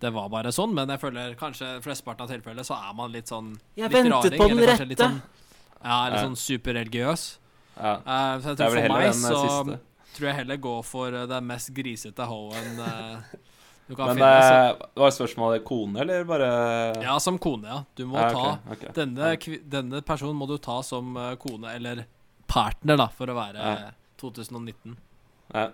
Speaker 4: Det var bare sånn, men jeg føler kanskje i flesteparten av tilfellene så er man litt sånn
Speaker 2: Jeg
Speaker 4: litt
Speaker 2: ventet
Speaker 4: raring,
Speaker 2: på den
Speaker 4: eller kanskje
Speaker 2: rette.
Speaker 4: Litt sånn, ja,
Speaker 3: Ja.
Speaker 4: litt sånn superreligiøs.
Speaker 3: Ja.
Speaker 4: Eh, så
Speaker 3: Det er
Speaker 4: jeg tror
Speaker 3: vel
Speaker 4: for
Speaker 3: heller
Speaker 4: meg
Speaker 3: den
Speaker 4: så
Speaker 3: siste.
Speaker 4: tror jeg heller går for eh, den mest grisete hoen eh, du kan
Speaker 3: Men
Speaker 4: finne. Så,
Speaker 3: eh, var spørsmålet kone, eller bare
Speaker 4: altså. ja, som kone, ja. Du må
Speaker 3: Ja,
Speaker 4: ta
Speaker 3: ok, ok.
Speaker 4: Denne, kvi- denne personen må du ta som eh, kone eller partner, da, for å være
Speaker 3: Ja.
Speaker 4: eh, 2019.
Speaker 3: Ja.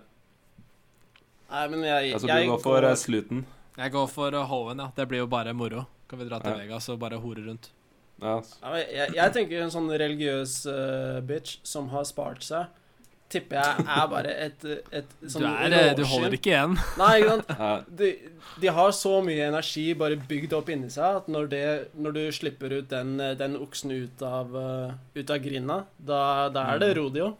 Speaker 2: Nei, men jeg,
Speaker 3: Altså,
Speaker 2: jeg
Speaker 3: du går for eh, sluten.
Speaker 4: Jeg går for eh, Hoven, ja. Det blir jo bare moro. Kan vi dra til
Speaker 3: Ja.
Speaker 4: Vegas og bare hore rundt?
Speaker 3: Ja. altså.
Speaker 2: Ja, men jeg, jeg tenker en sånn religiøs eh, bitch som har spart seg, tipper jeg er bare et, et sånn
Speaker 4: du, er, eh, du holder ikke igjen.
Speaker 2: Nei, ikke sant.
Speaker 3: Ja.
Speaker 2: De, de har så mye energi bare bygd opp inni seg at når, det, når du slipper ut den, eh, den oksen ut av, eh, ut av grinda, da, da er det rodeo.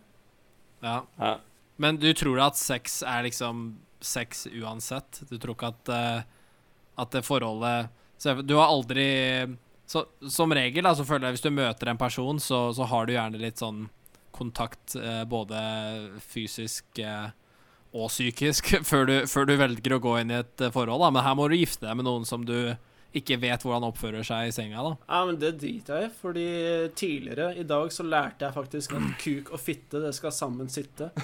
Speaker 4: Ja.
Speaker 3: Ja.
Speaker 4: Men du tror at sex er liksom sex uansett? Du tror ikke at, eh, at det forholdet så jeg- Du har aldri så, Som regel, da, så føler jeg hvis du møter en person, så, så har du gjerne litt sånn kontakt eh, både fysisk eh, og psykisk før du, før du velger å gå inn i et eh, forhold. Da. Men her må du gifte deg med noen som du ikke vet hvordan oppfører seg i senga. da
Speaker 2: Ja, men det driter jeg i, fordi tidligere i dag så lærte jeg faktisk at kuk og fitte, det skal sammen sitte.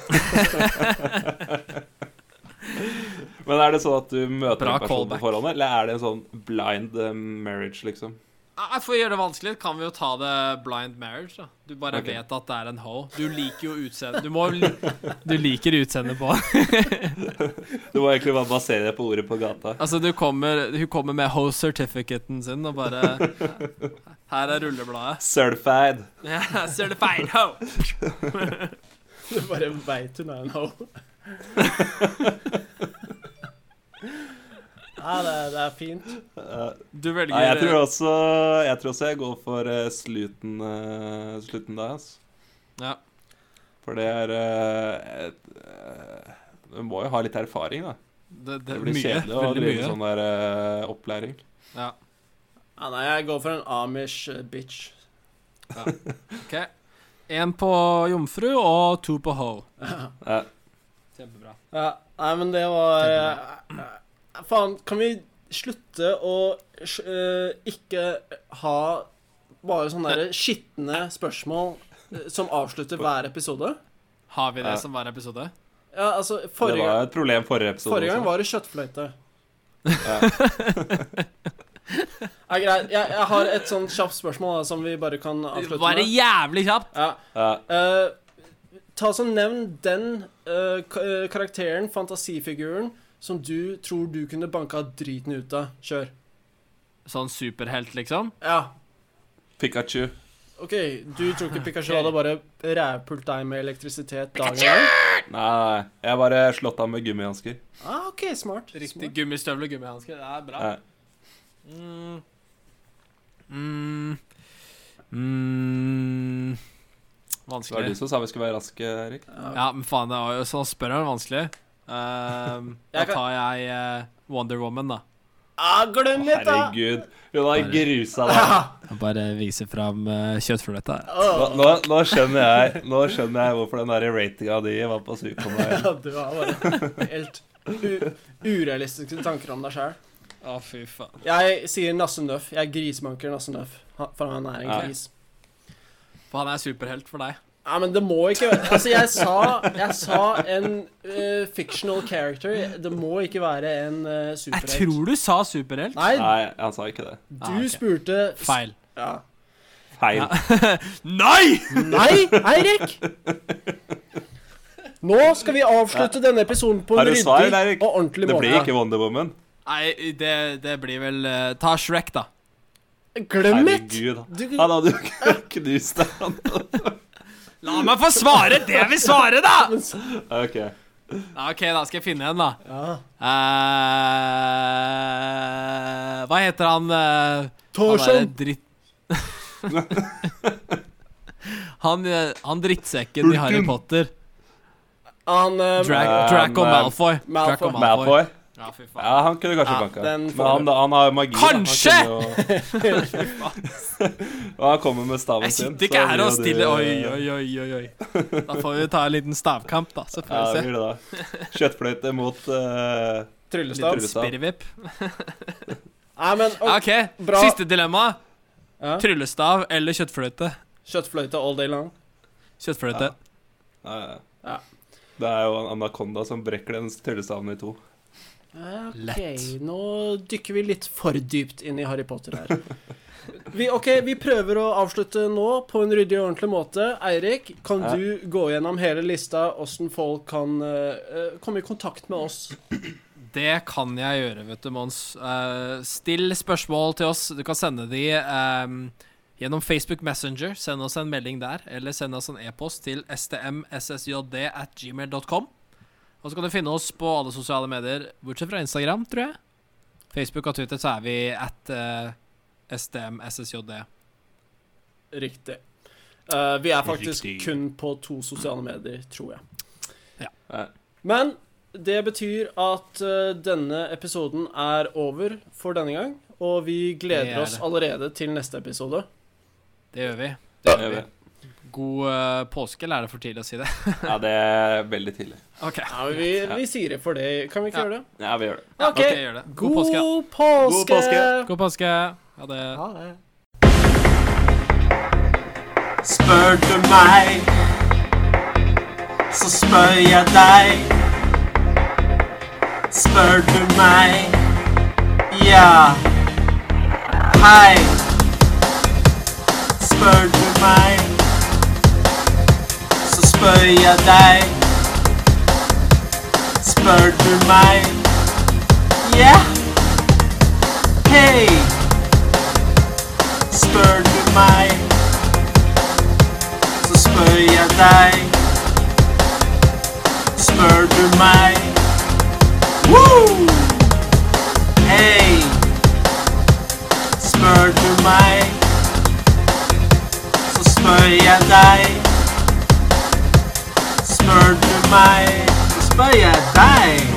Speaker 3: Men er det sånn at du møter
Speaker 4: Bra
Speaker 3: en person på
Speaker 4: callback.
Speaker 3: forhånd, eller er det en sånn blind eh, marriage, liksom?
Speaker 4: Nei, For å gjøre det vanskelig, kan vi jo ta det blind marriage. da Du bare
Speaker 3: Ok.
Speaker 4: vet at det er en ho. Du liker jo utseendet Du, må, li- du liker utseendet på
Speaker 3: Du må egentlig bare basere deg på ordet på gata.
Speaker 4: Altså, du kommer, hun kommer med ho-certificaten sin og bare Her er rullebladet.
Speaker 3: Certified.
Speaker 4: Ja, certified ho!
Speaker 2: Du bare veit hun er en hoe. Ja, det, er- det er fint.
Speaker 3: Eh,
Speaker 4: Du velger
Speaker 3: Nei, jeg tror også jeg, tror også jeg går for eh, sluten, eh, sluten da, altså.
Speaker 4: ja.
Speaker 3: For det er eh, et, eh, Du må jo ha litt erfaring, da.
Speaker 4: Det, det,
Speaker 3: Det
Speaker 4: er
Speaker 3: blir
Speaker 4: mye.
Speaker 3: kjedelig å
Speaker 4: veldig
Speaker 3: drive
Speaker 4: mye.
Speaker 3: sånn der eh, opplæring.
Speaker 4: Ja.
Speaker 2: Ja, nei, jeg går for en Amish eh, bitch.
Speaker 4: OK. Én på jomfru og to på ho.
Speaker 3: Eh,
Speaker 4: Kjempebra.
Speaker 2: Ja, nei, men det var eh, eh, Faen, kan vi slutte å sj- eh, ikke ha bare sånne der skitne spørsmål eh, som avslutter hver episode?
Speaker 4: Har vi det
Speaker 3: Ja.
Speaker 4: som hver episode?
Speaker 2: Ja, altså,
Speaker 3: det
Speaker 2: forrige,
Speaker 3: var
Speaker 2: gang-
Speaker 3: et problem forrige episode.
Speaker 2: forrige gang
Speaker 3: også.
Speaker 2: var det kjøttfløyte. Ja, greit. Jeg, jeg har et sånn kjapt spørsmål da, som vi bare kan avslutte
Speaker 4: Bare
Speaker 2: med.
Speaker 4: jævlig kjapt!
Speaker 2: Ja,
Speaker 3: Ja.
Speaker 2: eh, ta så Nevn den eh, ka- eh, karakteren, fantasifiguren, som du tror du kunne banka driten ut av. Kjør.
Speaker 4: Sånn superhelt, liksom?
Speaker 2: Ja.
Speaker 3: Pikachu.
Speaker 2: OK, du tror ikke Pikachu hadde bare rævpult deg med elektrisitet dagen i dag?
Speaker 3: Nei, nei, jeg bare slått av med gummihansker.
Speaker 2: Ah, OK, smart.
Speaker 4: Riktig
Speaker 2: smart.
Speaker 4: gummistøvle og gummihansker. Det er bra.
Speaker 3: Ja.
Speaker 4: Mm. Mm. Mm.
Speaker 3: Det var du
Speaker 4: Vanskelig.
Speaker 3: som sa vi skulle være raske, Erik.
Speaker 4: Ja, men faen, det var jo sånn spør han vanskelig. Ehm, da
Speaker 2: Jeg kan-
Speaker 4: tar jeg eh, Wonder Woman, da.
Speaker 2: Ah, glem litt, da!
Speaker 3: Herregud, hun har
Speaker 4: Bare-
Speaker 3: grusa deg.
Speaker 4: Og bare viser fram uh, kjøttfløyta.
Speaker 3: Nå,
Speaker 2: Åh.
Speaker 3: nå, nå, skjønner jeg, nå skjønner jeg hvorfor den der ratinga di var på Superman.
Speaker 2: Ja, du har bare helt u urealistiske tanker om deg sjøl.
Speaker 4: Å, fy faen.
Speaker 2: Jeg sier Nasse Nøff. Jeg grisebanker Nasse Nøff, ha- for han er en
Speaker 3: Ja.
Speaker 2: gris.
Speaker 4: For han er superhelt for deg.
Speaker 2: Nei, men det må ikke være Altså, jeg sa, jeg sa en eh, fictional character. Det må ikke være en uh,
Speaker 4: Jeg
Speaker 2: superhelt.
Speaker 4: tror du sa superhelt.
Speaker 2: Nei,
Speaker 3: Nei, han sa ikke det.
Speaker 2: du
Speaker 4: Ah, ok.
Speaker 2: spurte
Speaker 4: Feil.
Speaker 2: Ja.
Speaker 3: Feil.
Speaker 4: Ja. Nei!
Speaker 2: Nei, Eirik! Nå skal vi avslutte denne episoden på
Speaker 3: Har
Speaker 2: en
Speaker 3: du
Speaker 2: ryddig
Speaker 3: svar, Eirik?
Speaker 2: og ordentlig
Speaker 3: Det
Speaker 2: måte.
Speaker 3: blir ikke Wonder Woman.
Speaker 4: Nei, det, det blir vel eh, Ta Shrek, da.
Speaker 2: Glem it!
Speaker 3: Herregud.
Speaker 2: Du,
Speaker 3: Han hadde jo knust deg. han.
Speaker 4: La meg få svare det jeg vil svare, da!
Speaker 3: OK.
Speaker 4: Ja, OK, da skal jeg finne en, da.
Speaker 2: ja.
Speaker 4: Eh, hva heter han eh, Han derre
Speaker 2: Tarzan!
Speaker 4: dritt... han, eh, han drittsekken i Harry Potter.
Speaker 2: Han eh,
Speaker 4: Drag,
Speaker 3: Eh,
Speaker 4: Draco
Speaker 3: men-
Speaker 4: Malfoy. Draco
Speaker 2: Malfoy.
Speaker 4: Malfoy.
Speaker 3: Malfoy.
Speaker 4: Ja, fy faen.
Speaker 3: Ja, han kunne kanskje
Speaker 2: Ja,
Speaker 3: banka.
Speaker 2: den
Speaker 3: Men
Speaker 2: får du.
Speaker 3: han, han har jo magi. da.
Speaker 4: Kanskje!
Speaker 3: Han kunne jo... Og han kommer med staven
Speaker 4: Jeg
Speaker 3: sin.
Speaker 4: sitter
Speaker 3: så
Speaker 4: ikke her
Speaker 3: blir
Speaker 4: og
Speaker 3: jo
Speaker 4: stiller Oi,
Speaker 3: de-
Speaker 4: oi, oi, oi, oi. Da får vi ta en liten stavkamp, da. Så
Speaker 3: Ja,
Speaker 4: får
Speaker 3: det
Speaker 4: vi se.
Speaker 3: blir det da. Kjøttfløyte mot eh,
Speaker 2: Tryllestav.
Speaker 3: Litt rullestav.
Speaker 4: Spirrevipp.
Speaker 2: Nei, men ok,
Speaker 4: OK,
Speaker 2: bra.
Speaker 4: siste dilemma.
Speaker 2: Ja.
Speaker 4: Tryllestav eller kjøttfløyte?
Speaker 2: Kjøttfløyte all day long.
Speaker 4: Kjøttfløyte.
Speaker 3: ja, ja.
Speaker 2: Ja.
Speaker 3: Det er jo en anakonda som brekker den tryllestaven i to.
Speaker 2: Ok,
Speaker 4: Lett.
Speaker 2: nå dykker vi litt for dypt inn i Harry Potter her. Vi, ok, vi prøver å avslutte nå på en ryddig og ordentlig måte. Eirik, kan
Speaker 3: Ja.
Speaker 2: du gå gjennom hele lista åssen folk kan eh, eh, komme i kontakt med oss?
Speaker 4: Det kan jeg gjøre, vet du, Mons. Eh, still spørsmål til oss. Du kan sende de ehm, gjennom Facebook Messenger. Send oss en melding der, eller send oss en e-post til stmssjd at gmail.com. Og så kan du finne oss på alle sosiale medier, bortsett fra Instagram, tror jeg. Facebook og Twitter, så er vi at eh, stmssjd.
Speaker 2: Riktig. Eh, vi er faktisk
Speaker 3: Riktig.
Speaker 2: kun på to sosiale medier, tror jeg.
Speaker 3: Ja.
Speaker 2: Men det betyr at eh, denne episoden er over for denne gang. Og vi
Speaker 4: Det
Speaker 2: gleder
Speaker 4: er
Speaker 2: oss
Speaker 4: det.
Speaker 2: allerede til neste episode.
Speaker 4: Det gjør vi.
Speaker 3: Det
Speaker 4: gjør vi. God eh, påske, eller er det for tidlig å si det?
Speaker 3: Ja, det er veldig tidlig.
Speaker 4: OK.
Speaker 2: Ja, men vi, vi sier det for det. Kan vi ikke
Speaker 4: Ja.
Speaker 2: gjøre det?
Speaker 3: Ja, vi gjør det.
Speaker 4: Ja,
Speaker 2: Ok.
Speaker 4: ok, gjør det. God påske, da.
Speaker 2: God påske!
Speaker 3: God påske.
Speaker 4: God påske. Ha det.
Speaker 2: Ha det.
Speaker 1: Spør du meg, så spør jeg deg. Spør du meg, ja, hei. Spør du meg, så spør jeg deg. Spør du meg, ja, hei. Spør du meg så spør jeg deg. Spør du meg? Woo! Hei! Spør du meg, så spør jeg deg. Spør du meg, så spør jeg deg.